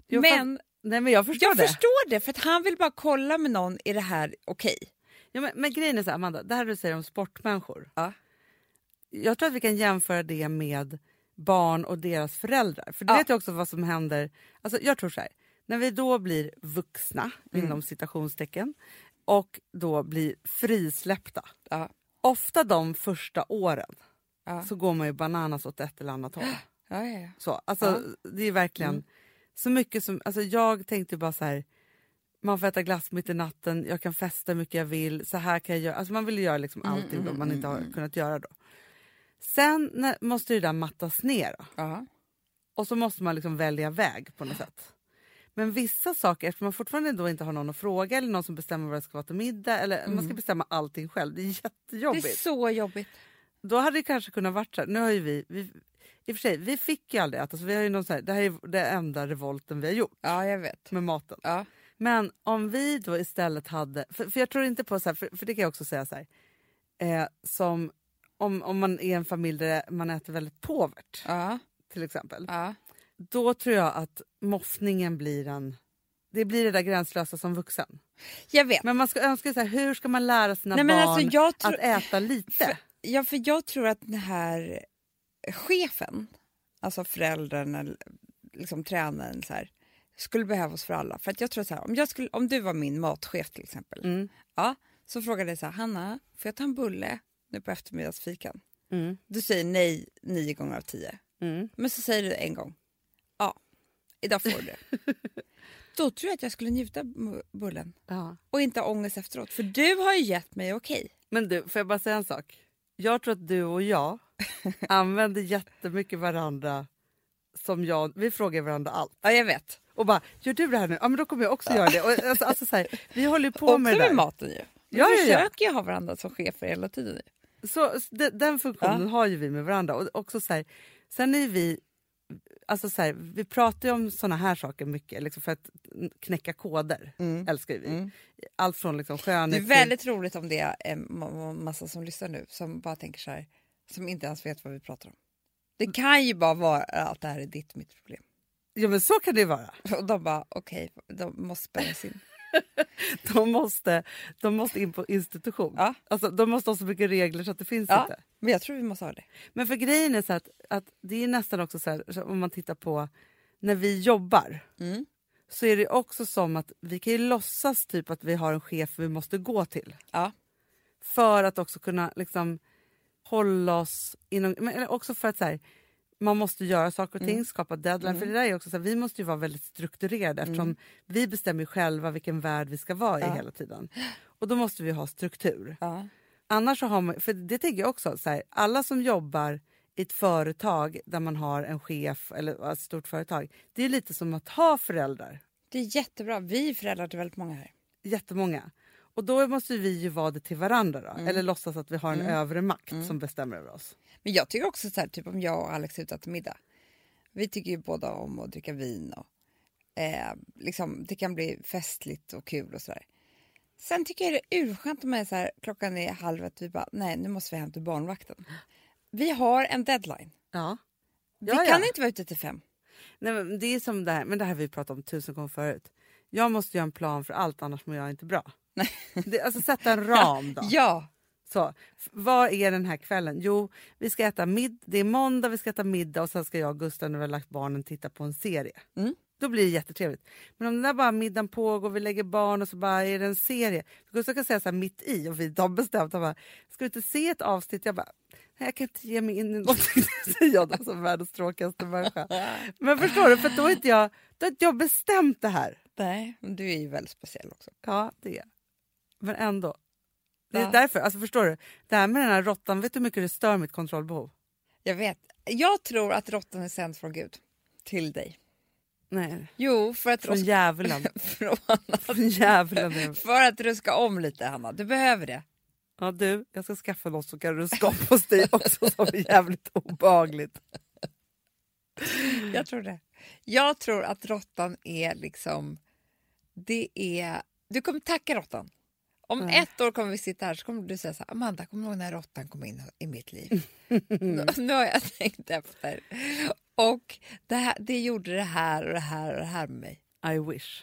Speaker 1: Jo,
Speaker 2: men
Speaker 1: Nej, men jag förstår
Speaker 2: jag
Speaker 1: det.
Speaker 2: förstår det, för att han vill bara kolla med någon, är det här okej?
Speaker 1: Ja, men, men grejen är så här, Amanda, det här du säger om sportmänniskor.
Speaker 2: Ja.
Speaker 1: Jag tror att vi kan jämföra det med barn och deras föräldrar. För du
Speaker 2: Ja.
Speaker 1: vet ju också vad som händer. Alltså, jag tror så här, när vi då blir vuxna,
Speaker 2: Mm.
Speaker 1: inom citationstecken, och då blir frisläppta.
Speaker 2: Ja.
Speaker 1: Ofta de första åren
Speaker 2: Ja.
Speaker 1: så går man ju bananas åt ett eller
Speaker 2: [gasps]
Speaker 1: annat håll.
Speaker 2: Ja, ja, ja.
Speaker 1: Så, alltså, Det är verkligen så mycket som... Alltså, jag tänkte bara så här... Man får äta glass mitt i natten, jag kan festa hur mycket jag vill. Så här kan jag göra. Alltså, man vill göra liksom allting då, man inte har kunnat göra då. Sen när, måste det där mattas ner. Då.
Speaker 2: Ja.
Speaker 1: Och så måste man liksom välja väg på något sätt. Men vissa saker, eftersom man fortfarande då inte har någon att fråga eller någon som bestämmer vad det ska vara till middag. Eller Man ska bestämma allting själv. Mm. Det är
Speaker 2: Det
Speaker 1: jättejobbigt
Speaker 2: är så jobbigt.
Speaker 1: då hade det kanske kunnat vara så här. Nu har ju vi, vi, i och för sig, vi fick ju aldrig äta, så vi har ju någon så här, det här är den enda revolten vi har gjort
Speaker 2: Ja, jag vet.
Speaker 1: med maten.
Speaker 2: Ja.
Speaker 1: Men om vi då istället hade, för, för jag tror inte på så här, för, för det kan jag också säga så här, eh, som om, om man är en familj där man äter väldigt påvert
Speaker 2: Ja,
Speaker 1: till exempel,
Speaker 2: ja.
Speaker 1: då tror jag att moffningen blir en, det blir det där gränslösa som vuxen.
Speaker 2: Jag vet.
Speaker 1: Men man ska önska så här, hur ska man lära sina
Speaker 2: Nej,
Speaker 1: barn
Speaker 2: men alltså, jag, tro-
Speaker 1: att äta lite?
Speaker 2: ja, för jag tror att den här chefen, alltså föräldern eller liksom tränaren, så här, skulle behövas för alla. För att jag tror så här, om, jag skulle, om du var min matchef till exempel,
Speaker 1: Mm,
Speaker 2: ja, så frågade jag så här, Hanna, får jag ta en bulle nu på eftermiddagsfikan?
Speaker 1: mm,
Speaker 2: Du säger nej nio gånger av tio.
Speaker 1: mm.
Speaker 2: Men så säger du en gång. Ja, idag får du det. Då tror jag att jag skulle njuta av mu- bullen
Speaker 1: Ja.
Speaker 2: och inte ha ångest efteråt. För du har ju gett mig okej.
Speaker 1: Men du, får jag bara säga en sak? Jag tror att du och
Speaker 2: [laughs]
Speaker 1: jag använder jättemycket varandra som jag, vi frågar varandra allt.
Speaker 2: Ja, jag vet.
Speaker 1: Och bara, gör du det här nu? Ja men då kommer jag också göra det. Och, alltså, alltså, så här, vi håller ju på
Speaker 2: Också
Speaker 1: med det
Speaker 2: med,
Speaker 1: där.
Speaker 2: maten ju. Vi
Speaker 1: Ja, ja, ja.
Speaker 2: försöker ju ha varandra som chefer hela tiden. ju.
Speaker 1: Så, så de, den funktionen har ju vi med varandra. Och också så här, sen är vi, alltså så här, vi pratar ju om såna här saker mycket liksom för att knäcka koder. Älskar ju vi. Allt från liksom
Speaker 2: Mm. Det är
Speaker 1: skönhet till...
Speaker 2: väldigt roligt om det är en ma- ma- massa som lyssnar nu som bara tänker så här, som inte ens vet vad vi pratar om. Det
Speaker 1: Mm.
Speaker 2: kan ju bara vara att det här är ditt mitt problem. [laughs]
Speaker 1: Ja men så kan det ju vara.
Speaker 2: Och de bara okej, de måste spärras in.
Speaker 1: [laughs] de, måste, de måste in på institution.
Speaker 2: Ja.
Speaker 1: Alltså, de måste ha så mycket regler så att det finns
Speaker 2: Ja.
Speaker 1: inte.
Speaker 2: Men jag tror vi måste ha det.
Speaker 1: Men för grejen är så att, att det är nästan också så här, så om man tittar på när vi jobbar
Speaker 2: Mm.
Speaker 1: så är det också som att vi kan ju låtsas typ att vi har en chef vi måste gå till.
Speaker 2: Ja.
Speaker 1: För att också kunna liksom hålla oss inom... Men eller också för att så här, man måste göra saker och ting, skapa deadline. För det där är också så här, vi måste ju vara väldigt strukturerade eftersom vi bestämmer ju själva vilken värld vi ska vara i hela tiden. Och då måste vi ha struktur.
Speaker 2: Ja.
Speaker 1: Annars så har man, för det tänker jag också, så här, alla som jobbar i ett företag där man har en chef eller ett stort företag, det är lite som att ha föräldrar,
Speaker 2: Det är jättebra. Vi är föräldrar till väldigt många här.
Speaker 1: jättemånga. Och då måste vi ju vara det till varandra då, eller låtsas att vi har en övre makt som bestämmer över oss.
Speaker 2: Men jag tycker också så här, typ om jag och Alex är ute till middag. Vi tycker ju båda om att dricka vin och eh, liksom, det kan bli festligt och kul och sådär. Sen tycker jag det är urskönt om man är så här, klockan är halv ett, vi bara nej nu måste vi hem till barnvakten. Vi har en deadline.
Speaker 1: Ja.
Speaker 2: Vi
Speaker 1: Ja,
Speaker 2: kan
Speaker 1: ja.
Speaker 2: inte vara ute till fem.
Speaker 1: Nej, men det är som det här, men det här har vi pratat om tusen gånger förut. Jag måste göra en plan för allt annars mår jag inte bra. Det, alltså sätta en ram då.
Speaker 2: Ja,
Speaker 1: Så, f- vad är den här kvällen? Jo, vi ska äta mid- det är måndag, vi ska äta middag och sen ska jag och Gustav när vi har lagt barnen titta på en serie.
Speaker 2: Mm.
Speaker 1: Då blir det jättetrevligt. Men om den där bara middagen pågår, vi lägger barn och så bara är det en serie. För Gustav kan säga så här mitt i och vi har bestämt, han bara, ska vi inte se ett avsnitt? Jag bara, nej jag kan inte ge mig in i någonting. [laughs] Det säger jag då som världens tråkigaste människa. Men förstår du, för då är inte jag, då är inte jag bestämt det här.
Speaker 2: nej, men du är ju väldigt speciell också.
Speaker 1: Ja, det är Men ändå. Det är
Speaker 2: Ja.
Speaker 1: därför, alltså förstår du? Det här med den här råttan, vet du hur mycket det stör mitt kontrollbehov?
Speaker 2: Jag vet. Jag tror att råttan är sänd från Gud till dig.
Speaker 1: Nej.
Speaker 2: Jo, för att,
Speaker 1: Från
Speaker 2: ruska, [laughs]
Speaker 1: djävulen.
Speaker 2: från,
Speaker 1: Från djävulen. är-
Speaker 2: för att ruska om lite, Hanna. Du behöver det.
Speaker 1: Ja du, jag ska skaffa någon som kan ruska upp hos dig också som är jävligt obehagligt.
Speaker 2: Jag tror det. Jag tror att råttan är liksom... Det är... Du kommer tacka råttan. Om ett år kommer vi sitta här så kommer du säga så här, Amanda, kommer du ihåg när råttan kom in i mitt [laughs] liv? nu, nu har jag tänkt efter. Och det, här, det gjorde det här och det här och det här med mig.
Speaker 1: I wish.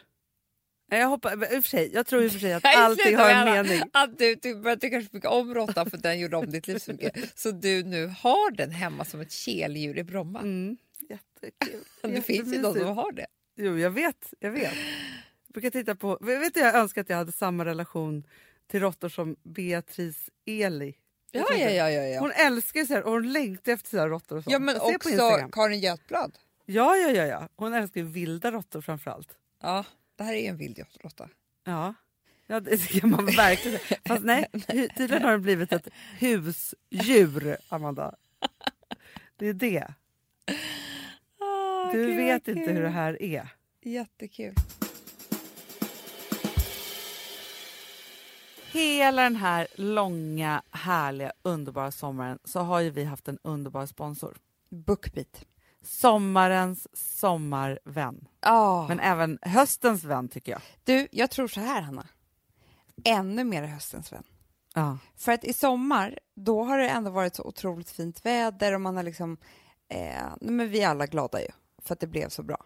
Speaker 1: Nej, Jag, hoppas, men i och för sig, jag tror i och för sig att
Speaker 2: Nej,
Speaker 1: allting
Speaker 2: sluta
Speaker 1: har
Speaker 2: med alla-
Speaker 1: en mening.
Speaker 2: Att du, du började tycka så mycket om råttan för den gjorde om ditt liv så mycket. Så du nu har den hemma som ett keldjur i Bromma.
Speaker 1: Mm,
Speaker 2: [laughs]
Speaker 1: jättekul.
Speaker 2: det finns ju de
Speaker 1: Jättemysigt.
Speaker 2: som har det.
Speaker 1: Jo, jag vet. Jag vet. Jag brukar titta på... Vet du, jag önskar att jag hade samma relation till råttor som Beatrice Eli.
Speaker 2: Ja, ja, ja. ja, ja.
Speaker 1: Hon älskar ju så här, och hon längtar efter sina råttor och sånt.
Speaker 2: ja men
Speaker 1: Jag ser på
Speaker 2: också
Speaker 1: Instagram.
Speaker 2: Karin Götblad.
Speaker 1: Ja, ja, ja, ja. Hon älskar ju vilda råttor framförallt.
Speaker 2: Ja, det här är ju en vild råtta.
Speaker 1: Ja. ja, det kan man
Speaker 2: [laughs]
Speaker 1: verkligen säga. Fast nej, hu- tydligen har det blivit ett husdjur, Amanda. Det är det.
Speaker 2: Ah,
Speaker 1: Du vet inte hur det här är.
Speaker 2: Jättekul.
Speaker 1: Hela den här långa, härliga, underbara sommaren så har ju vi haft en underbar sponsor.
Speaker 2: Bookbeat.
Speaker 1: Sommarens sommarvän.
Speaker 2: Ja.
Speaker 1: Men även höstens vän tycker jag.
Speaker 2: Du, jag tror så här, Hanna. Ännu mer i höstens vän.
Speaker 1: Ja.
Speaker 2: För att i sommar, då har det ändå varit så otroligt fint väder och man har liksom... Eh, nej, men vi är alla glada ju, för att det blev så bra.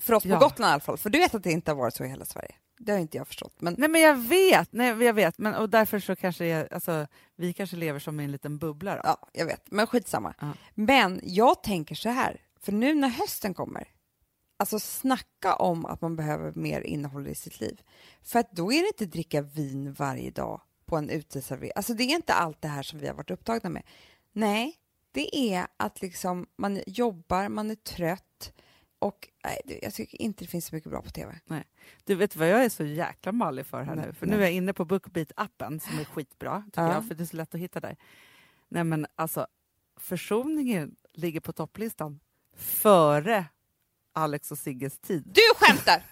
Speaker 2: För oss på
Speaker 1: Ja.
Speaker 2: Gotland i alla fall, för du vet att det inte har varit så i hela Sverige. Det har inte jag förstått. Men
Speaker 1: Nej men jag vet, nej, jag vet. Men, och därför så kanske jag, alltså, vi kanske lever som i en liten bubbla då.
Speaker 2: Ja, jag vet. Men skitsamma.
Speaker 1: Ja.
Speaker 2: Men jag tänker så här, för nu när hösten kommer, alltså snacka om att man behöver mer innehåll i sitt liv. För att då är det inte dricka vin varje dag på en uteservering. Alltså det är inte allt det här som vi har varit upptagna med. Nej, det är att liksom man jobbar, man är trött och nej, det- jag tycker inte det finns så mycket bra på tv.
Speaker 1: Du vet vad jag är så jäkla mallig för här
Speaker 2: Nej,
Speaker 1: nu? För
Speaker 2: nej.
Speaker 1: nu är jag inne på Bookbeat-appen som är skitbra, tycker
Speaker 2: Ja.
Speaker 1: jag, för det är så lätt att hitta där. Nej men alltså, försoningen ligger på topplistan före Alex och Sigges tid.
Speaker 2: Du skämtar!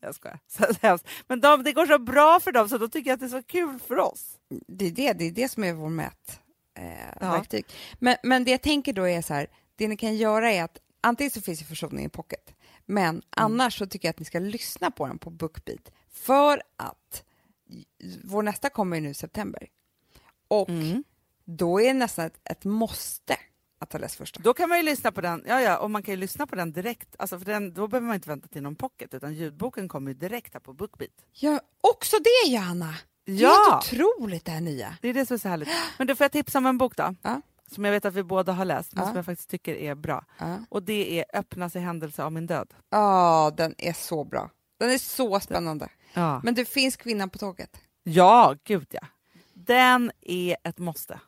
Speaker 1: Jag skojar, [laughs] så hemskt. Men de, det går så bra för dem så då tycker jag att det är så kul för oss.
Speaker 2: det är det, det är det som är vår mätverktyg. Eh, verktyg. men, men det jag tänker då är så här, det ni kan göra är att antingen så finns ju försoningen i pocket, men annars så tycker jag att ni ska lyssna på den på BookBeat för att vår nästa kommer ju nu i september. Och då är det nästan ett, ett måste att ha läst första.
Speaker 1: Då kan man ju lyssna på den, ja, ja, och man kan ju lyssna på den direkt. Alltså för den, då behöver man inte vänta till någon pocket, utan ljudboken kommer ju direkt här på BookBeat.
Speaker 2: Ja, också det Johanna! Det är
Speaker 1: Ja!
Speaker 2: helt otroligt det här nya.
Speaker 1: Det är det som är så härligt. Men du, får jag tipsa om en bok då?
Speaker 2: Ja.
Speaker 1: Som jag vet att vi båda har läst, men
Speaker 2: Ja.
Speaker 1: som jag faktiskt tycker är bra.
Speaker 2: Ja,
Speaker 1: Och det är Öppnas i händelse av min död.
Speaker 2: Ja, den är så bra. Den är så spännande.
Speaker 1: Ja,
Speaker 2: Men du, finns kvinnan på tåget?
Speaker 1: ja gud ja. Den är ett måste.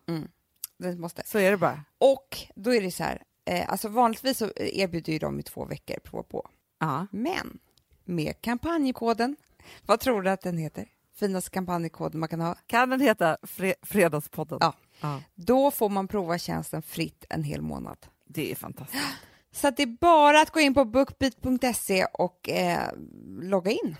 Speaker 2: Den måste.
Speaker 1: Så är det bara.
Speaker 2: Och då är det så här, eh, alltså vanligtvis så erbjuder ju de i två veckor prova på.
Speaker 1: Ja.
Speaker 2: Men med kampanjkoden, vad tror du att den heter? Finaste kampanjkoden man kan ha.
Speaker 1: Kan den heta Fre- Fredagspodden?
Speaker 2: Ja. Då får man prova tjänsten fritt en hel månad.
Speaker 1: Det är fantastiskt.
Speaker 2: Så att det är bara att gå in på bookbeat.se och eh, logga in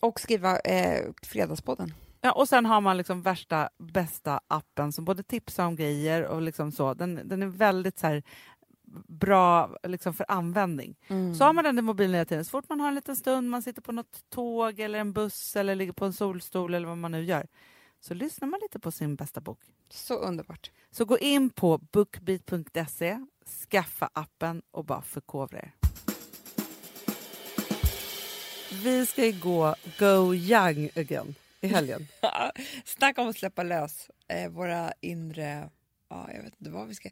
Speaker 2: och skriva eh, Fredagspodden.
Speaker 1: Ja, och sen har man liksom värsta bästa appen som både tipsar om grejer och liksom så. Den, den är väldigt så här bra liksom för användning.
Speaker 2: Mm.
Speaker 1: Så har man den i mobilen hela tiden, så fort man har en liten stund, man sitter på något tåg eller en buss eller ligger på en solstol eller vad man nu gör, så lyssnar man lite på sin bästa bok.
Speaker 2: Så underbart.
Speaker 1: Så gå in på bookbeat.se, skaffa appen och bara förkovra er. Vi ska ju gå Go Young again i helgen.
Speaker 2: [laughs] Snacka om att släppa lös eh, våra inre... Ja, jag vet inte vad vi ska...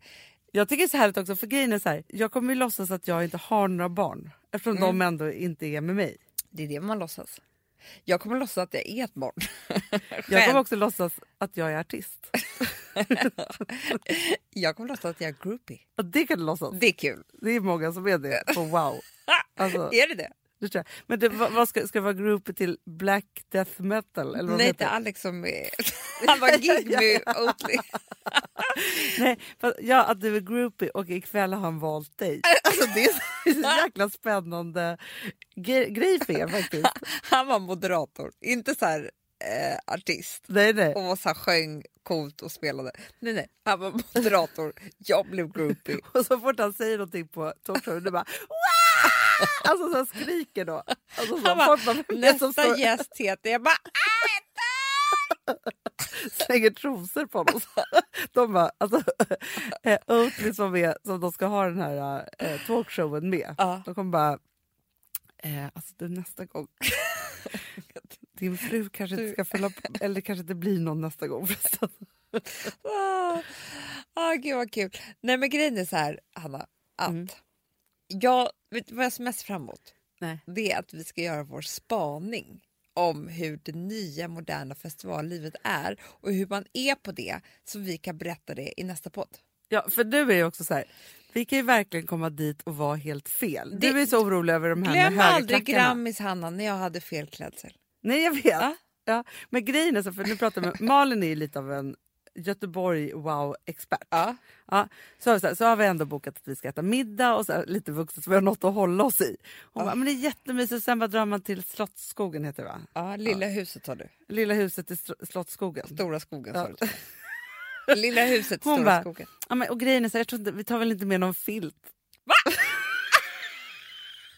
Speaker 1: Jag tycker det är så härligt också, för grejen är så här, jag kommer ju låtsas att jag inte har några barn eftersom
Speaker 2: Mm.
Speaker 1: de ändå inte är med mig.
Speaker 2: Det är det man låtsas. Jag kommer låtsas att jag är ett barn.
Speaker 1: Jag
Speaker 2: Själv.
Speaker 1: kommer också låtsas att jag är artist.
Speaker 2: Jag kommer låtsas att jag är groupie.
Speaker 1: Och det kan du låtsas.
Speaker 2: Det är kul.
Speaker 1: Det är många som är det på
Speaker 2: [laughs]
Speaker 1: wow. Alltså,
Speaker 2: Är det det?
Speaker 1: det tror jag. Men det, vad, vad ska, ska det vara groupie till black death metal? Eller vad
Speaker 2: Nej,
Speaker 1: heter?
Speaker 2: inte Alex som är... Han var gig med Oatly.
Speaker 1: Nej, fast, ja, att du är groupie och ikväll har han valt
Speaker 2: [laughs]
Speaker 1: dig. Alltså, det är så- det är så jäkla spännande gre- grej för er
Speaker 2: [laughs]
Speaker 1: faktiskt.
Speaker 2: Han var moderator, inte så här eh, artist.
Speaker 1: Nej, nej.
Speaker 2: Och var så här, sjöng coolt och spelade. Nej, nej, han var moderator. Jag
Speaker 1: [laughs]
Speaker 2: blev groupie.
Speaker 1: Och så fort han säger någonting på talkshowen, du bara "Wah!" Alltså så han skriker då. Alltså, så,
Speaker 2: Han bara,
Speaker 1: folk bara, "Vem är det som
Speaker 2: Nästa
Speaker 1: står,
Speaker 2: gäst heter... Jag bara...
Speaker 1: slänger trosor på honom. [laughs] Så, de bara, alltså, [laughs] eh, Oatly som, är, som de ska ha den här eh, talkshowen med,
Speaker 2: Ja.
Speaker 1: de kommer bara... Eh, alltså du, nästa gång... [laughs] Din fru kanske inte
Speaker 2: Du-
Speaker 1: ska följa på, eller kanske inte blir någon nästa gång
Speaker 2: [laughs]
Speaker 1: förresten.
Speaker 2: Ah, ah, gud vad kul. Nej men grejen är så här, Hanna, att jag, vet du vad jag ser mest fram emot?
Speaker 1: Nej.
Speaker 2: Det är att vi ska göra vår spaning om hur det nya moderna festivallivet är och hur man är på det så vi kan berätta det i nästa podd.
Speaker 1: Ja, för du är ju också så här, vi kan ju verkligen komma dit och vara helt fel.
Speaker 2: Det-
Speaker 1: du är så orolig över de här
Speaker 2: Glöm
Speaker 1: med
Speaker 2: aldrig
Speaker 1: högerklackarna.
Speaker 2: Grammis Hanna när jag hade fel klädsel.
Speaker 1: Nej, jag vet. Ja. Men grejen är så, för nu pratar jag med, Malin är ju lite av en Göteborg wow-expert.
Speaker 2: Ja.
Speaker 1: Ja, så, har vi så, här, så har vi ändå bokat att vi ska äta middag och så här, lite vuxet så vi har något att hålla oss i. Hon bara, men det är jättemysigt, sen bara drar man till Slottsskogen heter det va?
Speaker 2: Ja, lilla huset har du.
Speaker 1: Lilla huset i Str- Slottsskogen.
Speaker 2: Stora skogen
Speaker 1: Ja.
Speaker 2: sa du. [laughs] Lilla huset,
Speaker 1: Hon
Speaker 2: stora
Speaker 1: bara,
Speaker 2: skogen.
Speaker 1: Ja, men, och grejen är så här, jag tror inte, vi tar väl inte med någon filt?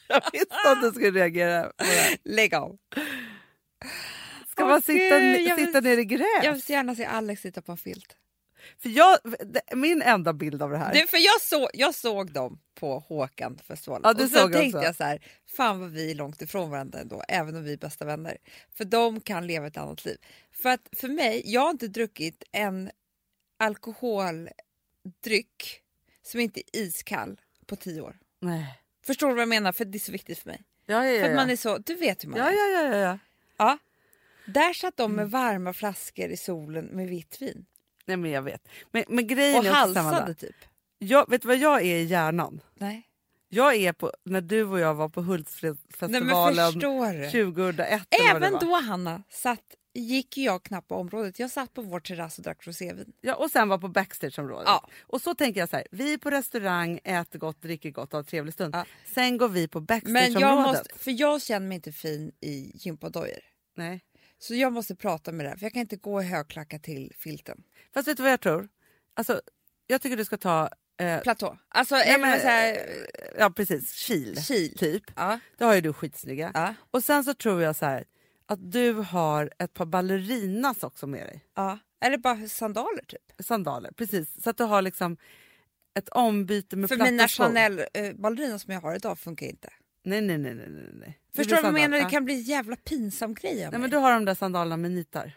Speaker 1: Va? [laughs] jag visste att du skulle reagera. på det.
Speaker 2: Lägg av.
Speaker 1: Ska
Speaker 2: Åh,
Speaker 1: man sitta,
Speaker 2: gud, jag vill-
Speaker 1: sitta ner i gräs?
Speaker 2: Jag vill så gärna se Alex sitta på en filt.
Speaker 1: För jag, det- min enda bild av det här.
Speaker 2: Du, för jag, så, jag såg dem på Håkan-festivalen
Speaker 1: Ja, du
Speaker 2: och så
Speaker 1: såg dem
Speaker 2: tänkte
Speaker 1: så.
Speaker 2: jag så här, fan vad vi är långt ifrån varandra ändå, även om vi är bästa vänner. För de kan leva ett annat liv. För att för mig, jag har inte druckit en alkoholdryck som inte är iskall på tio år.
Speaker 1: Nej.
Speaker 2: Förstår du vad jag menar? För det är så viktigt för mig.
Speaker 1: Ja, ja, ja.
Speaker 2: För att
Speaker 1: ja.
Speaker 2: man är så, du vet hur man
Speaker 1: ja, Mm.
Speaker 2: är.
Speaker 1: ja, ja, ja, ja.
Speaker 2: Ja. Där satt de med varma flaskor i solen med vitt vin
Speaker 1: Nej, men jag vet. Men, men grejen
Speaker 2: och
Speaker 1: är också samma
Speaker 2: halsade
Speaker 1: där.
Speaker 2: typ.
Speaker 1: jag, Vet du vad jag är i hjärnan?
Speaker 2: Nej.
Speaker 1: Jag är på när du och jag var på
Speaker 2: Nej men
Speaker 1: Hultsfredsfestivalen
Speaker 2: förstår du?
Speaker 1: 2001. eller vad det
Speaker 2: Även
Speaker 1: var.
Speaker 2: då Hanna satt, gick ju jag knappt på området. Jag satt på vår terrass och drack rosévin.
Speaker 1: Ja, och sen var på backstageområdet.
Speaker 2: Ja.
Speaker 1: Och så tänker jag så här, vi är på restaurang, äter gott, dricker gott, har en trevlig stund.
Speaker 2: Ja.
Speaker 1: Sen går vi på
Speaker 2: Men
Speaker 1: backstageområdet.
Speaker 2: jag måste, för jag känner mig inte fin i gympadojor.
Speaker 1: Nej.
Speaker 2: Så jag måste prata med det här, för jag kan inte gå i högklackat till filten.
Speaker 1: Fast vet du vad jag tror? Alltså, jag tycker du ska ta... Eh,
Speaker 2: Platå. Alltså, eller
Speaker 1: men,
Speaker 2: men, så här,
Speaker 1: eh, ja, precis.
Speaker 3: eh,
Speaker 1: Kil.
Speaker 2: Kil.
Speaker 1: Typ.
Speaker 2: ja,
Speaker 1: Det har ju du skitsnygga.
Speaker 2: ja,
Speaker 1: Och sen så tror jag så här, att du har ett par ballerinas också med dig.
Speaker 2: ja. Eller bara sandaler typ.
Speaker 1: Sandaler, precis. Så att du har liksom Ett ombyte med
Speaker 3: För
Speaker 1: platta
Speaker 3: mina
Speaker 1: skor.
Speaker 2: eh,
Speaker 3: Chanel-balleriner som jag har idag funkar inte.
Speaker 1: Nej, nej, nej. nej, nej, nej. Det
Speaker 3: Förstår du vad jag
Speaker 1: blir
Speaker 3: menar? Det
Speaker 1: sandal.
Speaker 3: kan bli en jävla pinsam grej av
Speaker 1: Nej, men
Speaker 3: mig.
Speaker 1: du har de där sandalerna med nitar.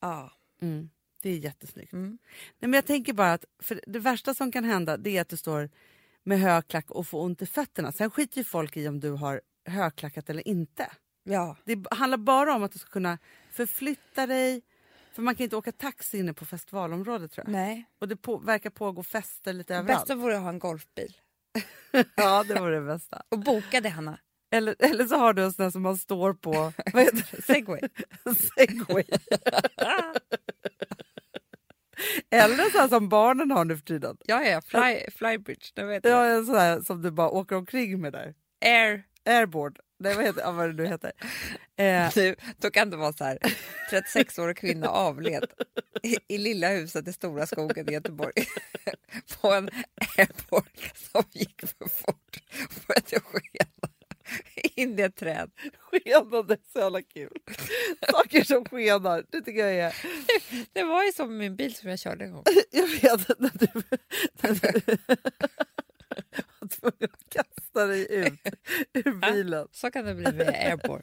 Speaker 3: Ja.
Speaker 1: Mm. Det är jättesnyggt.
Speaker 3: Mm.
Speaker 1: Nej, men jag tänker bara att för det värsta som kan hända det är att du står med högklack och får ont i fötterna. Sen skiter ju folk i om du har högklackat eller inte.
Speaker 3: ja.
Speaker 1: Det b- handlar bara om att du ska kunna förflytta dig. För man kan inte åka taxi inne på festivalområdet tror jag.
Speaker 3: Nej.
Speaker 1: Och det på, verkar pågå fester lite
Speaker 3: Det
Speaker 1: överallt.
Speaker 3: bästa vore att ha en golfbil.
Speaker 1: Ja, det vore det bästa.
Speaker 3: Och boka det, [laughs] Hanna.
Speaker 1: [laughs] Eller, eller så har du en sån där som man står på, vad heter
Speaker 3: [laughs]
Speaker 1: det?
Speaker 3: Segway.
Speaker 1: [laughs] En segway.
Speaker 3: Ah.
Speaker 1: eller så här som barnen har nu för tiden.
Speaker 3: Ja, ja. Fly, flybridge. Det vet jag.
Speaker 1: Ja, en sån här som du bara åker omkring med där.
Speaker 3: Air.
Speaker 1: Airboard. Nej, vad, heter, ja, vad det nu heter. Eh,
Speaker 3: Nu, då kan det vara så här. 36-årig kvinna avled i, i lilla huset i Stora skogen i Göteborg [laughs] på en airport som gick för fort och började skena in i ett träd.
Speaker 1: [laughs] skenande, så jävla kul. Saker som skenar, det tycker jag är...
Speaker 3: Det var ju som min bil som jag körde en gång.
Speaker 1: Jag vet när du, när du [laughs] var tvungen att kasta dig ut [laughs] ur bilen.
Speaker 3: Så kan det bli med airport.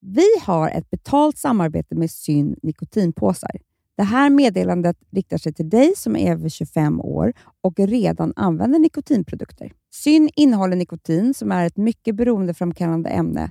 Speaker 2: Vi har ett betalt samarbete med Syn nikotinpåsar. Det här meddelandet riktar sig till dig som är över 25 år och redan använder nikotinprodukter. Syn innehåller nikotin som är ett mycket beroendeframkallande ämne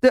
Speaker 1: Du,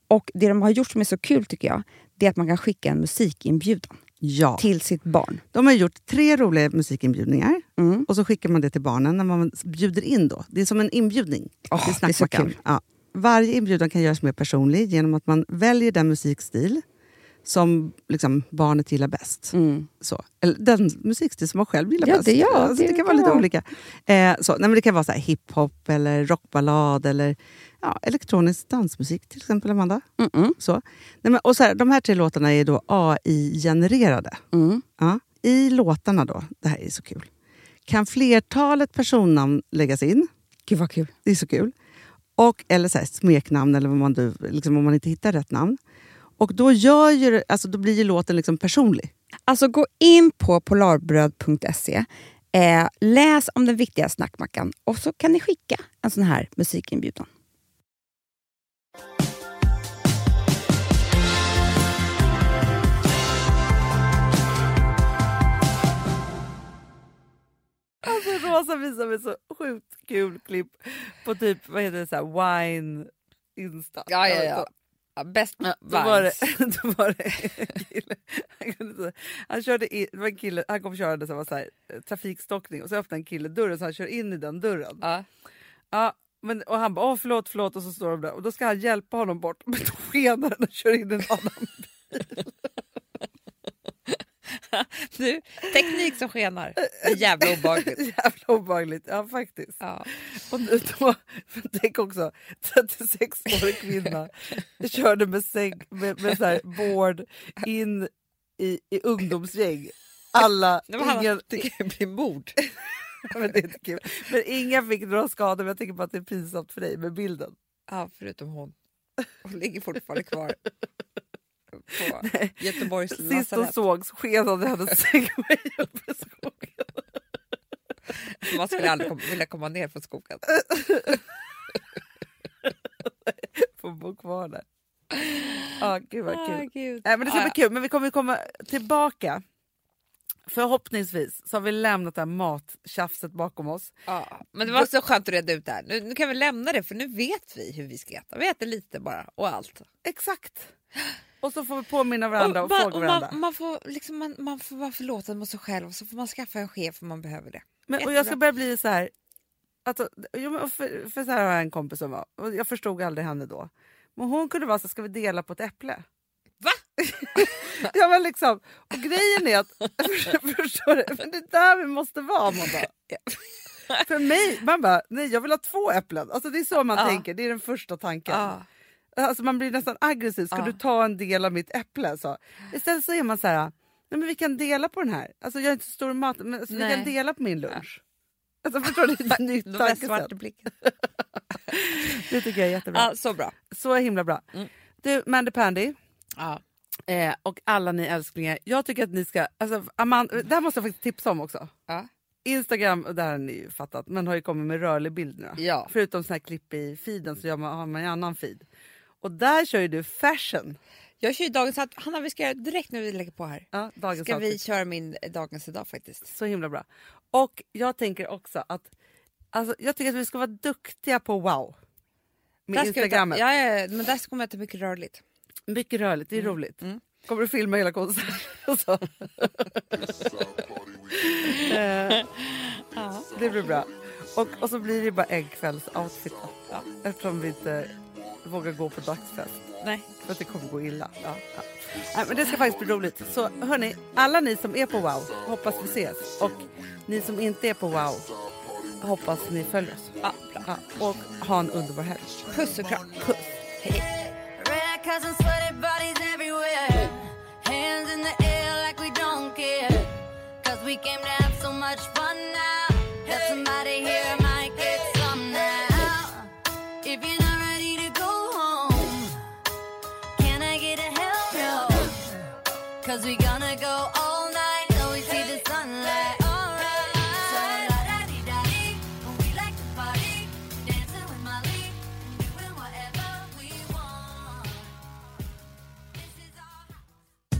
Speaker 4: Och det de har gjort som är så kul tycker jag, det är att man kan skicka en musikinbjudan
Speaker 1: Ja.
Speaker 4: till sitt barn.
Speaker 1: De har gjort tre roliga musikinbjudningar
Speaker 4: Mm.
Speaker 1: och så skickar man det till barnen när man bjuder in. då. Det är som en inbjudning.
Speaker 4: Åh,
Speaker 1: till
Speaker 4: det är så
Speaker 1: snackmackan.
Speaker 4: kul.
Speaker 1: Ja. Varje inbjudan kan göras mer personlig genom att man väljer den musikstil som liksom, barnet gillar bäst.
Speaker 4: Mm.
Speaker 1: Så. Eller den musikstil som man själv gillar
Speaker 4: Ja,
Speaker 1: bäst.
Speaker 4: det- ja,
Speaker 1: alltså, det,
Speaker 4: det
Speaker 1: kan vara
Speaker 4: kan
Speaker 1: lite
Speaker 4: vara.
Speaker 1: olika. Eh, så. Nej, men det kan vara så här hiphop, eller rockballad eller ja, elektronisk dansmusik till exempel, Amanda.
Speaker 4: Mm-mm.
Speaker 1: Så. Nej, men, och så här, de här tre låtarna är då AI-genererade.
Speaker 4: Mm.
Speaker 1: Ja. I låtarna då, det här är så kul, kan flertalet personnamn läggas in.
Speaker 4: Gud vad kul.
Speaker 1: Det är så kul. Och, eller så här, smeknamn, eller vad man, nu- liksom, om man inte hittar rätt namn. Och då, gör ju, det- alltså, då blir ju låten liksom personlig.
Speaker 4: Alltså gå in på polarbröd.se, eh, läs om den viktiga snackmackan och så kan ni skicka en sån här musikinbjudan.
Speaker 1: Alltså, Rosa visar mig så sjukt kul klipp på typ vad heter det, så här, wine insta.
Speaker 2: Ja, ja, ja. Ja, bäst
Speaker 1: Ja, Då
Speaker 2: vibes.
Speaker 1: var, det, [laughs] då var det en kille, han, kunde inte, han, körde in, det var en kille, han kom körande som var så här, eh, trafikstockning och så öppnade en kille dörren så han kör in i den dörren.
Speaker 2: Ja.
Speaker 1: Ja, men, och han bara åh förlåt, förlåt och så står de där och då ska han hjälpa honom bort [laughs] men då skenar den och kör in i en annan.
Speaker 2: Du, teknik som skenar. Det är jävla
Speaker 4: [laughs]
Speaker 2: obehagligt.
Speaker 1: Jävla obehagligt, ja faktiskt.
Speaker 2: Ja.
Speaker 1: Och nu då, tänk också, 36-årig kvinna körde med, säng, med, med så här board in i, i ungdomsgäng. Alla,
Speaker 2: Nej, men Hanna,
Speaker 1: ingen,
Speaker 2: det [laughs] kan ju bli mord.
Speaker 1: [laughs] men det är inte kul. Men ingen fick några skador, men jag tänker bara att det är pinsamt för dig med bilden.
Speaker 2: Ja, förutom hon. Hon ligger fortfarande kvar på Göteborgs
Speaker 1: Sist hon
Speaker 2: lasarett.
Speaker 1: sågs skenade hennes säng med hjälp av skogen.
Speaker 2: Man skulle aldrig kom, vilja komma ner från skogen.
Speaker 1: Får bo kvar där. Ja, Ah, gud vad kul.
Speaker 2: gud.
Speaker 1: Nej, men det ska
Speaker 2: Ah, Ja,
Speaker 1: bli kul, men vi kommer ju komma tillbaka. Förhoppningsvis så har vi lämnat det här mattjafset bakom oss.
Speaker 2: ja. Men det var så skönt att reda ut det här. Nu, nu kan vi lämna det för nu vet vi hur vi ska äta. Vi äter lite bara och allt.
Speaker 1: Exakt. Och så får vi påminna varandra och,
Speaker 2: man,
Speaker 1: fråga varandra.
Speaker 2: Man, man, får, liksom, man, man får vara förlåten mot sig själv och så får man skaffa en chef om man behöver det.
Speaker 1: Men, och jag ska börja bli så här... Alltså, jo, men för, för så här har jag en kompis som var, och jag förstod aldrig henne då. Men hon kunde vara så här, ska vi dela på ett äpple?
Speaker 2: Va?
Speaker 1: [laughs] ja, men liksom, och grejen är att, [laughs] för, förstår du, men det är där vi måste vara Amanda. För mig, man bara, nej jag vill ha två äpplen. Alltså det är så man
Speaker 2: Ja.
Speaker 1: tänker, det är den första tanken.
Speaker 2: Ja.
Speaker 1: Alltså man blir nästan aggressiv. Ska
Speaker 2: Ja.
Speaker 1: du ta en del av mitt äpple? Så. Istället så är man så här, nej men vi kan dela på den här. Alltså jag är inte så stor i mat, men alltså, vi
Speaker 2: Nej.
Speaker 1: kan dela på min lunch. Alltså förstår
Speaker 2: [laughs]
Speaker 1: du? Det är ett nytt
Speaker 2: Då var jag
Speaker 1: tankesätt.
Speaker 2: svart i blicken.
Speaker 1: Det tycker jag är jättebra.
Speaker 2: Ja, så bra.
Speaker 1: Så himla bra.
Speaker 2: Mm.
Speaker 1: Du, Mandy Pandy
Speaker 2: Ja.
Speaker 1: eh, och alla ni älsklingar. Jag tycker att ni ska, alltså Amanda, det här måste jag faktiskt tipsa om också.
Speaker 2: Ja.
Speaker 1: Instagram, och det här har ni ju fattat, men har ju kommit med rörlig bild nu. då.
Speaker 2: Ja.
Speaker 1: Förutom såna här klipp i feeden så gör man, har man en annan feed. Och där kör ju du fashion.
Speaker 2: Jag kör ju dagens outfit. Hanna, vi ska göra direkt när vi lägger på här.
Speaker 1: Ja, dagens
Speaker 2: Ska vi
Speaker 1: outfit.
Speaker 2: köra min dagens idag faktiskt?
Speaker 1: Så himla bra. Och jag tänker också att alltså, jag tycker att vi ska vara duktiga på wow. Med
Speaker 2: Där ska vi ta-
Speaker 1: Instagrammet.
Speaker 2: ja, ja, ja, men där ska man äta mycket rörligt.
Speaker 1: Mycket rörligt, det är roligt. Mm. Kommer du filma hela konserten? [laughs] och så? Eh, det blir bra. Och, och så blir det bara en kvälls outfit då. Eftersom vi inte vågar gå på dagsfest.
Speaker 2: Nej.
Speaker 1: För att det kommer gå illa. Ja, ja. Nej, men det ska faktiskt bli roligt. Så hörni, alla ni som är på Wow, hoppas vi ses. Och ni som inte är på Wow, hoppas ni följer oss.
Speaker 2: Ja, bra.
Speaker 1: Ja, och ha en underbar helg.
Speaker 2: Puss och kram. Puss. Hej, hej.
Speaker 5: Red cups and sweaty bodies everywhere. Hands in the air like we don't care. Cause we came to have so much fun now. That somebody here might get some now. If you're not ready to go home, can I get a hell no? Cause we gonna go all night till we see the sunlight. Alright. So la-da-dee-da-dee, we like to party. Dancing with my league, doing whatever we want. This is our